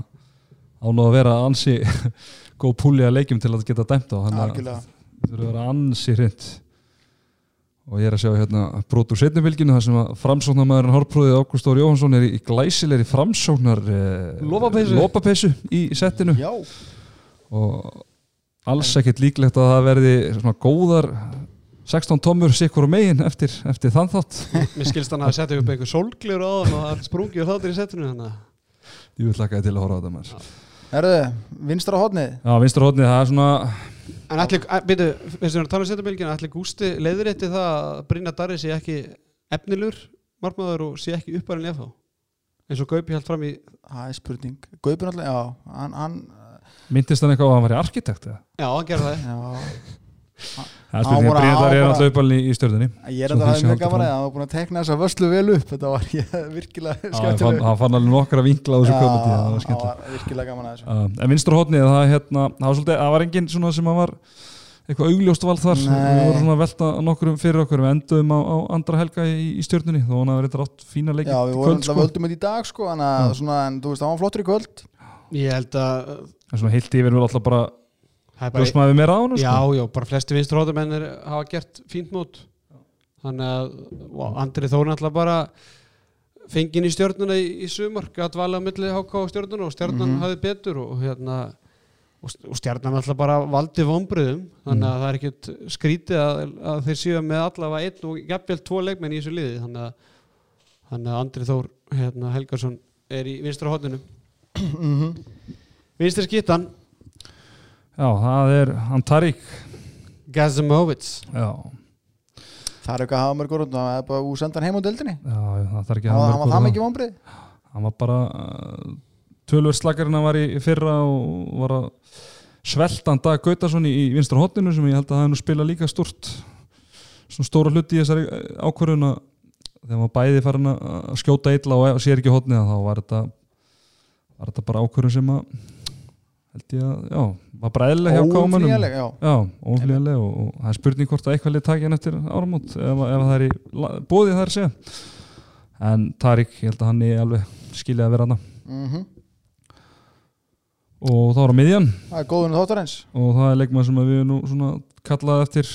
S2: án og að vera ansi góð púli að leikjum til að geta dæmt á þannig að
S3: algjörlega
S2: það þurfa að vera ansi hreint og ég er að sjá hérna brot úr setnibilginu þar sem að framsóknarmæðurinn Hárpróðið Ágúst Þór Jóhansson er í í glæsilegri framsóknar eh,
S1: Lopapeysu.
S2: lopapeysu í settinu
S3: já,
S2: og alls ekkert líklegt að það verði svona góðar 16 tommur sikkur og megin eftir, eftir þann þátt
S1: Mér skilst hann að setja upp einhver sólglur á hann og það sprungi og þáttir í hérna. setinu hann
S2: ég vil lakaði til að horfa á þetta maður
S3: erðu, vinstra hodnið
S2: Já, vinstur hóðni, það er svona
S1: En allir, byrju, finnst þér að tala um setjabilgina allir Gústi leiðrétti það að Brynja Darri sé ekki efnilur margmaður og sé ekki uppærin eða þá eins og Gaupi held fram í
S3: það er spurning Gaupin alltaf, já, hann, hann
S2: myndist hann eitthvað að hann var í arkitekt eða?
S1: Já, hann gerði það
S3: já,
S2: Það er
S3: Á,
S2: spurning,
S3: bara-
S2: Bríðar er
S3: á, bara-
S2: alltaf uppalni í stjórnunni
S3: Ég er
S2: Svo því
S3: að það
S2: sé
S3: mjög
S2: haldið
S3: gaman
S2: fram.
S3: að það var búin að tekna þessa vörslu vel upp Þetta var ég virkilega
S2: Hann fann-
S3: skemmtileg
S2: hann fann alveg nokkra vinkla á þessu komedi, það var skemmtilegt
S3: virkilega gaman að þessu
S2: Uh, en vinstra hótnið, það, er hérna, það, var svolítið, það var enginn svona sem að var eitthvað augljóst vald þar
S3: Nei.
S2: við vorum svona að velta nokkurum fyrir okkur við enduðum á, á andra helga í, í stjórnunni þó hann að vera rátt fína leikir
S3: Já, við vorum
S2: kvöld
S3: alltaf
S2: sko.
S3: völdum þetta í dag sko Þannig að
S2: Já.
S3: svona, en þú veist, það var flottur í kvöld
S1: Ég held að
S2: en svona heilt yfir við alltaf bara
S1: það er bara,
S2: ljósmaði meira á hann
S1: Já,
S2: sko.
S1: já, bara flesti vinstur hóðumennir hafa gert fínt mót þannig að wow, Andri Þór náttúrulega bara fengin í stjörnuna í, í sumar gæt valið á milli háká og stjörnuna og stjörnan
S3: Mhm.
S1: hafði betur og hérna og st- og stjarnan alltaf bara valdi vonbröðum þannig að það er ekkert skrítið að, að þeir séu með allavega einn og jafnvel tvo leikmenn í þessu liði þannig að, þannig að Andri Þór hérna, Helgarsson er í vinstra hodninu vinstri skittan
S2: já, það er hann Tarík
S1: Gazimovits
S2: já,
S3: Það er eitthvað að hafa mörg orðund Það er bara úr sendan heim á deildinni
S2: já, það þarf ekki að
S3: Hann
S2: hafa mörg
S3: var- hann var
S2: orð
S3: það
S2: um
S3: mikið vonbrið
S2: hann var bara uh, tölvör slakarinn að var í fyrra og var að svelta hann Dag Gautarsson í, í vinstra hotninu sem ég held að það nú spila líka stort svona stóra hluti í þessari uh, ákvörðun að þegar maður bæði farin að að skjóta illa og sér ekki hotnið þá var þetta var þetta bara ákvörðun sem að held ég að, já, var bara eðlileg hjá kámanum
S3: Óumflýjanleg, já
S2: Já, óflýjanlega og, og það er spurning hvort að eitthvað lið taki hann eftir áramót ef, ef það er í bóði það er að segja en Tarik, ég held að hann er alveg skiljaði að vera hann
S3: Mhm.
S2: og þá er á miðjan
S3: Það er góðun þóttarins
S2: og það er leikmann sem að við nú svona kallaði eftir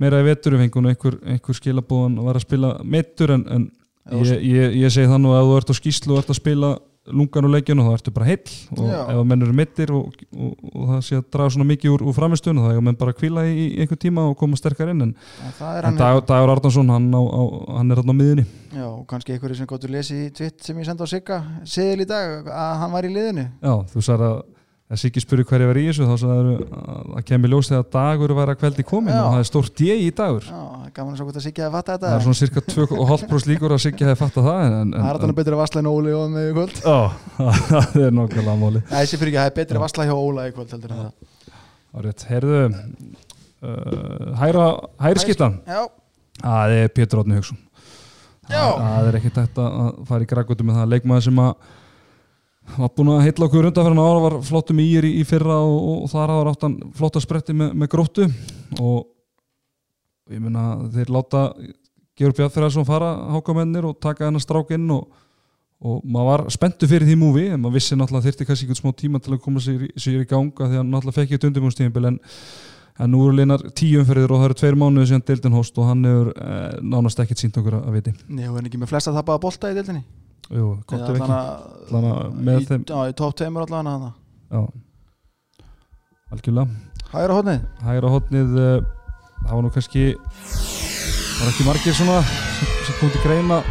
S2: meira í vetur við fengum nú einhver, einhver skilabóðan var að spila meittur en, en
S3: Já,
S2: ég, ég, ég segi það nú að ef þú ert á skýslu og ert að spila lungan og leikjun og þá ertu bara heill og
S3: Já.
S2: ef að menn eru meittir og, og, og það sé að draga svona mikið úr, úr framistunum þá hefur menn bara að kvíla í, í einhver tíma og koma sterkar inn en
S3: Það er
S2: En
S3: hann
S2: Dag, Dagur Arnarsson, hann, á, á, hann er hann á miðunni
S3: Já, og kannski einhverju sem gotur lesið í tvitt sem ég sendi á Sigga Seðil í dag að hann var í liðinu
S2: Já, þú sagði að að Siggi spurði hverja var í þessu þá sagði að það kemur ljós þegar Dagur var að kveldi komin
S3: Já.
S2: og það er stórt ég í Dagur
S3: Já, gaman að svo hvort að Sigga að fatta
S2: Það er
S3: þetta
S2: svona cirka 2,5% líkur að Siggi hefði fattað það en, en,
S3: Það er
S2: en,
S3: þannig betur að vasla en Óli og með í kvöld
S2: Já, það er nokkulega máli
S3: Nei, þessi fyrir ekki, það er betri vassla hjá Óla í kvöld heldur en það.
S2: Árið, heyrðu uh, hæra, hæri skittan
S3: Já,
S2: Það er Pétur Átni Hugson
S3: Já.
S2: Það það er ekkert þetta að fara í grækutum með það leikmaður sem að var búin að heilla okkur undanferðan ára var flottum í í, í fyrra og, og þar ára áttan flotta spretti með, með gróttu og ég meina þeir láta Georg Bjartfjörðarsson fara hákamennir og taka hennar strák inn og, og maður var spenntu fyrir því múfi en maður vissi náttúrulega þyrfti kannski einhvern smá tíma til að koma sér, í- sér í ganga því að hann náttúrulega fekk ég dundumúnstíðinbil en en nú eru linar tíumferðir og það eru tveir mánuði síðan deildin hóst og hann hefur eh, nánast ekkert sínt okkur að viti
S3: Nei, og er hann ekki með flesta tappaða bolta í deildinni
S2: Jú, gott ef
S3: Eða
S2: ekki
S3: allan
S2: Allan að með
S3: í,
S2: þeim-
S3: Já, í top 2 allan að hana
S2: Já. Algjörlega
S3: Hægra hóðnið
S2: hægra hotnið uh, það var nú kannski það var ekki margir svona sem, sem kom til greina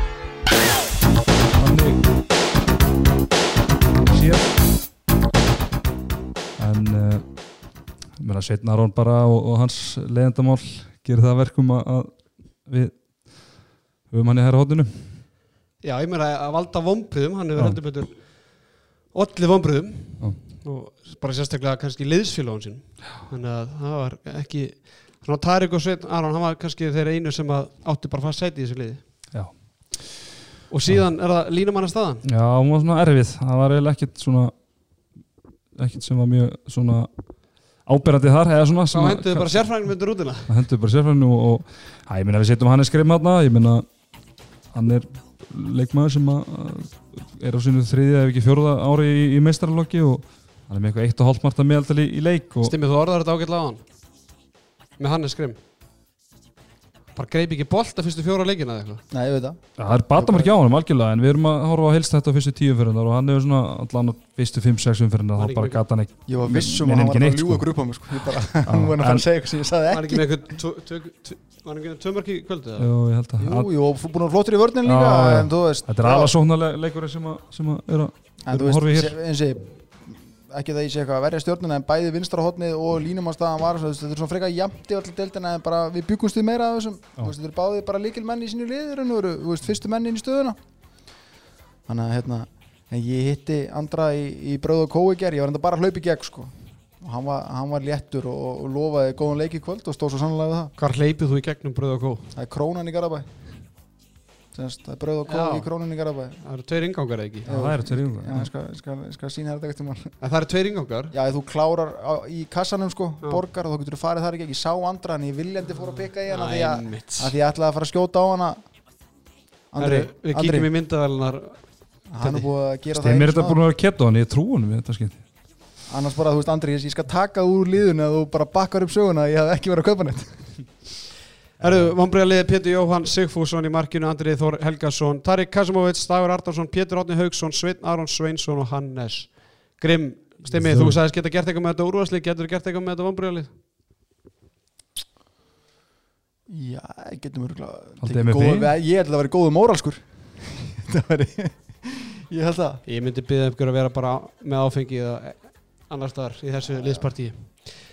S2: þannig síðan en uh, meina Sveitn Aron bara og, og hans leiðendamál gerir það að verkum að, að við höfum hann í hæra hotninu
S1: Já, ég meina að valda vombriðum, hann hefur
S2: Já.
S1: heldur betur allir vombriðum
S2: Já.
S1: og bara sérstaklega kannski liðsfélagun sín þannig að það var ekki þannig að Tarik og Sveinn Aron, hann var kannski þeir einu sem að átti bara fast sæti í þessu liði
S2: Já.
S1: og síðan er það línumanna staðan
S2: Já, hún var svona erfið það var eiginlega ekkert svona ekkert sem var mjög svona áberandi þar eða svona
S1: þá henduðu bara sérfræðingum undir rútina
S2: það hendur bara sérfræðinu og, og að, ég meina við setjum hann í skrim hérna ég meina hann er leikmaður sem að, að er á sínu þriðja ef ekki fjórða ári í, í meistaralokki og hann er með eitthvað eitt og hálft margt að meðaldal í, í leik og
S1: Stimmið þú orðar þetta ágætlega á hann með Hannes Grimm bara greip ekki bolta fyrstu fjóra leikina eða eitthvað
S3: Nei, ég veit það
S2: það er batamarki á hann algjörlega en við erum að horfa á helst þetta á fyrstu tíu umferðinar og hann hefur svona allan á fyrstu 5-6 umferðinar
S1: Var ekki
S2: þá bara
S1: mikið.
S2: gata hann ekki
S3: Ég var vissum
S2: Men- men
S3: að hann
S2: engin
S3: var bara
S2: eitt,
S3: að ljúga
S2: sko.
S3: grúpa mig sko Ég bara, hann var að
S2: en-
S3: fara að segja eitthvað sem ég sagði
S1: var
S3: ekki
S1: ekki með eitthvað tvö- tvö- tvö- var ekki með tömarki í kvöldu
S2: Jú, ég held að,
S3: Jú, jú, og fú- búin að vera flottur í vörnin líka
S2: Já, já.
S3: En þú veist
S2: þetta er
S3: já,
S2: aðarsóknarleikurinn sem, að, sem að er að
S3: En þú
S2: við horfum
S3: veist,
S2: hér.
S3: sé- eins og ég- ekki það ég sé eitthvað að verja stjórnuna en bæði vinstra hotnið og línumannstaðan var svo, þú veist, þetta er svona frekar jamt í allir deildina en bara við byggumst við meira af þessum Þú veist, þetta eru báði bara líkil menn í sínu liður en eru þú veist, fyrstu menn inn í stöðuna þannig að hérna en ég hitti Andra í, í bröð og kói ger ég var enda bara að hlaupa í gegn sko og hann var, hann var léttur og, og lofaði góðan leik í kvöld og stóð svo sannlega við það
S1: Hvar hleypið þú í gegnum bröð og kó?
S3: það er krónan í Garabæ Semst, það er bröð og kói
S1: Já.
S3: í krónan í Garabæ já,
S1: Það eru tveir ingangar eða ekki?
S2: Já, það eru tveir yngur
S3: ég skal, ég skal, ég skal sína þetta eftir mann
S1: En það eru tveir ingangar?
S3: Já, ef þú klárar á, í kassanum sko,
S1: Já.
S3: borgar og þá getur þú farið þar í gegn. Ég sá andra en ég viljandi fór að pikka í hann að því að,
S1: Æmitt
S3: að því ég ætlaði að fara að skjóta á hana Andri,
S1: Herri, Við
S3: Andri,
S1: kíkjum í myndavælunar
S3: hann er búið að gera
S2: Ég
S3: það
S2: mér þetta búin að vera keto hann, ég trú hann við þetta skemmt
S3: svona. annars bara, þú veist, Andri, ég ég skal taka úr liðun að þú bara bakkar upp söguna að ég hef ekki verið að kaupa neitt
S1: Herru, vombriðaliði Pétur Jóhann Sigfússon í markinu, Andrið Þór Helgason Tarik Kasimovits, Dagur Artarsson, Pétur Átni Haugsson Sveinn Aron Sveinsson og Hannes Grimm, Stimmi,
S2: Þú-
S1: þú sagðist geta gert eitthvað með þetta úrvarslið, getur gert eitthvað með þetta vombriðalið?
S3: Já, ég getum
S2: Haldið þið með
S3: örgulega Ég held að vera góðu móralskur Það veri Ég held það
S1: Ég myndi byggja ykkur að vera bara með áfengi eða annar staðar í þessu liðspartíi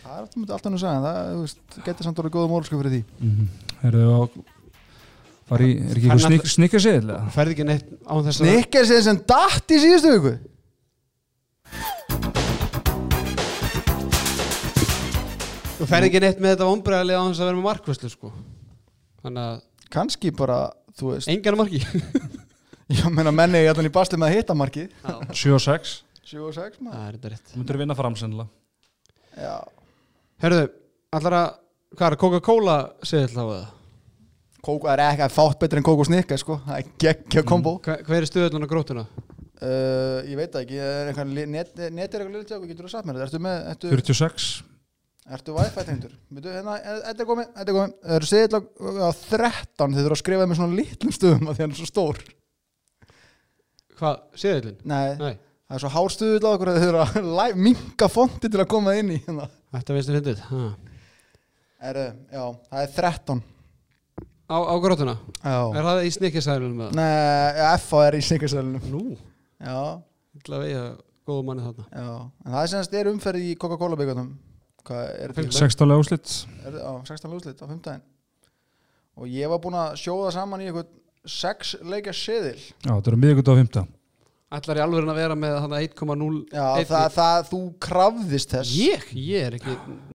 S3: Það er alltaf- alltaf nú að segja Það þú veist, getur samt orðið góðu móralskur fyrir því
S2: Herðu á Fari, er ekki
S1: Hann-
S2: eitthvað snikka sig eða?
S1: Færði ekki neitt án þess að
S3: Snikker sem sem datt í síðustu viku
S1: Þú færði ekki neitt með þetta vombriðalið án þess að vera með markvæslu sko. Þannig að
S3: kannski bara, þú veist
S1: engan marki
S3: ég meina menni ég allan í basli með að hitta markið
S2: 7 og 6
S3: 7 og 6 maður
S1: Það er þetta rétt
S2: Þú myndir vinna fram sennilega
S3: já,
S1: Herðu, allar að, hvað er, Coca-Cola segið þá það?
S3: kók það er ekki að fátt betur en kók og snikka sko, það er geggja kombo
S1: Hver, hver er stöðunan og grótuna?
S3: uh, ég veit það ekki, það er eitthvað li- net, net er eitthvað liðlega, getur þú satt mér þetta? ertu með, ertu,
S2: 46
S3: ertu wifi tengdur Veitu, hérna, e- þetta er komið, þetta er komið það eru segið á 13 þið þurfa að skrifa með svona litlum stöðum að því hann er svo stór
S1: Hvað, seðilinn?
S3: nei,
S1: Nei,
S3: það er svo hárstuðull á okkur að þið þurfa að minga fonti til að koma inn í hérna.
S1: þetta veist þið fyndið Ha.
S3: er, já, það er 13
S1: Á, á grótuna?
S3: já,
S1: Er það í snikkisælunum með það?
S3: nei, F er í snikkarsælunum
S1: Nú,
S3: já
S1: illa vegið að góðu manni þarna
S3: Já, en það er semast er umferð í Coca-Cola byggandum Hvað er þetta?
S2: 16 úslitt
S3: Er, á 16 lúslit á 15 Og ég var búinn að sjóða saman í eitthvað sex leikja seðil
S2: Já, þetta eru miðgut á 15
S1: Ætlar í alveg að vera með þarna 1,0
S3: Já, það, það, þú krafðist þess
S1: Ég? Ég er ekki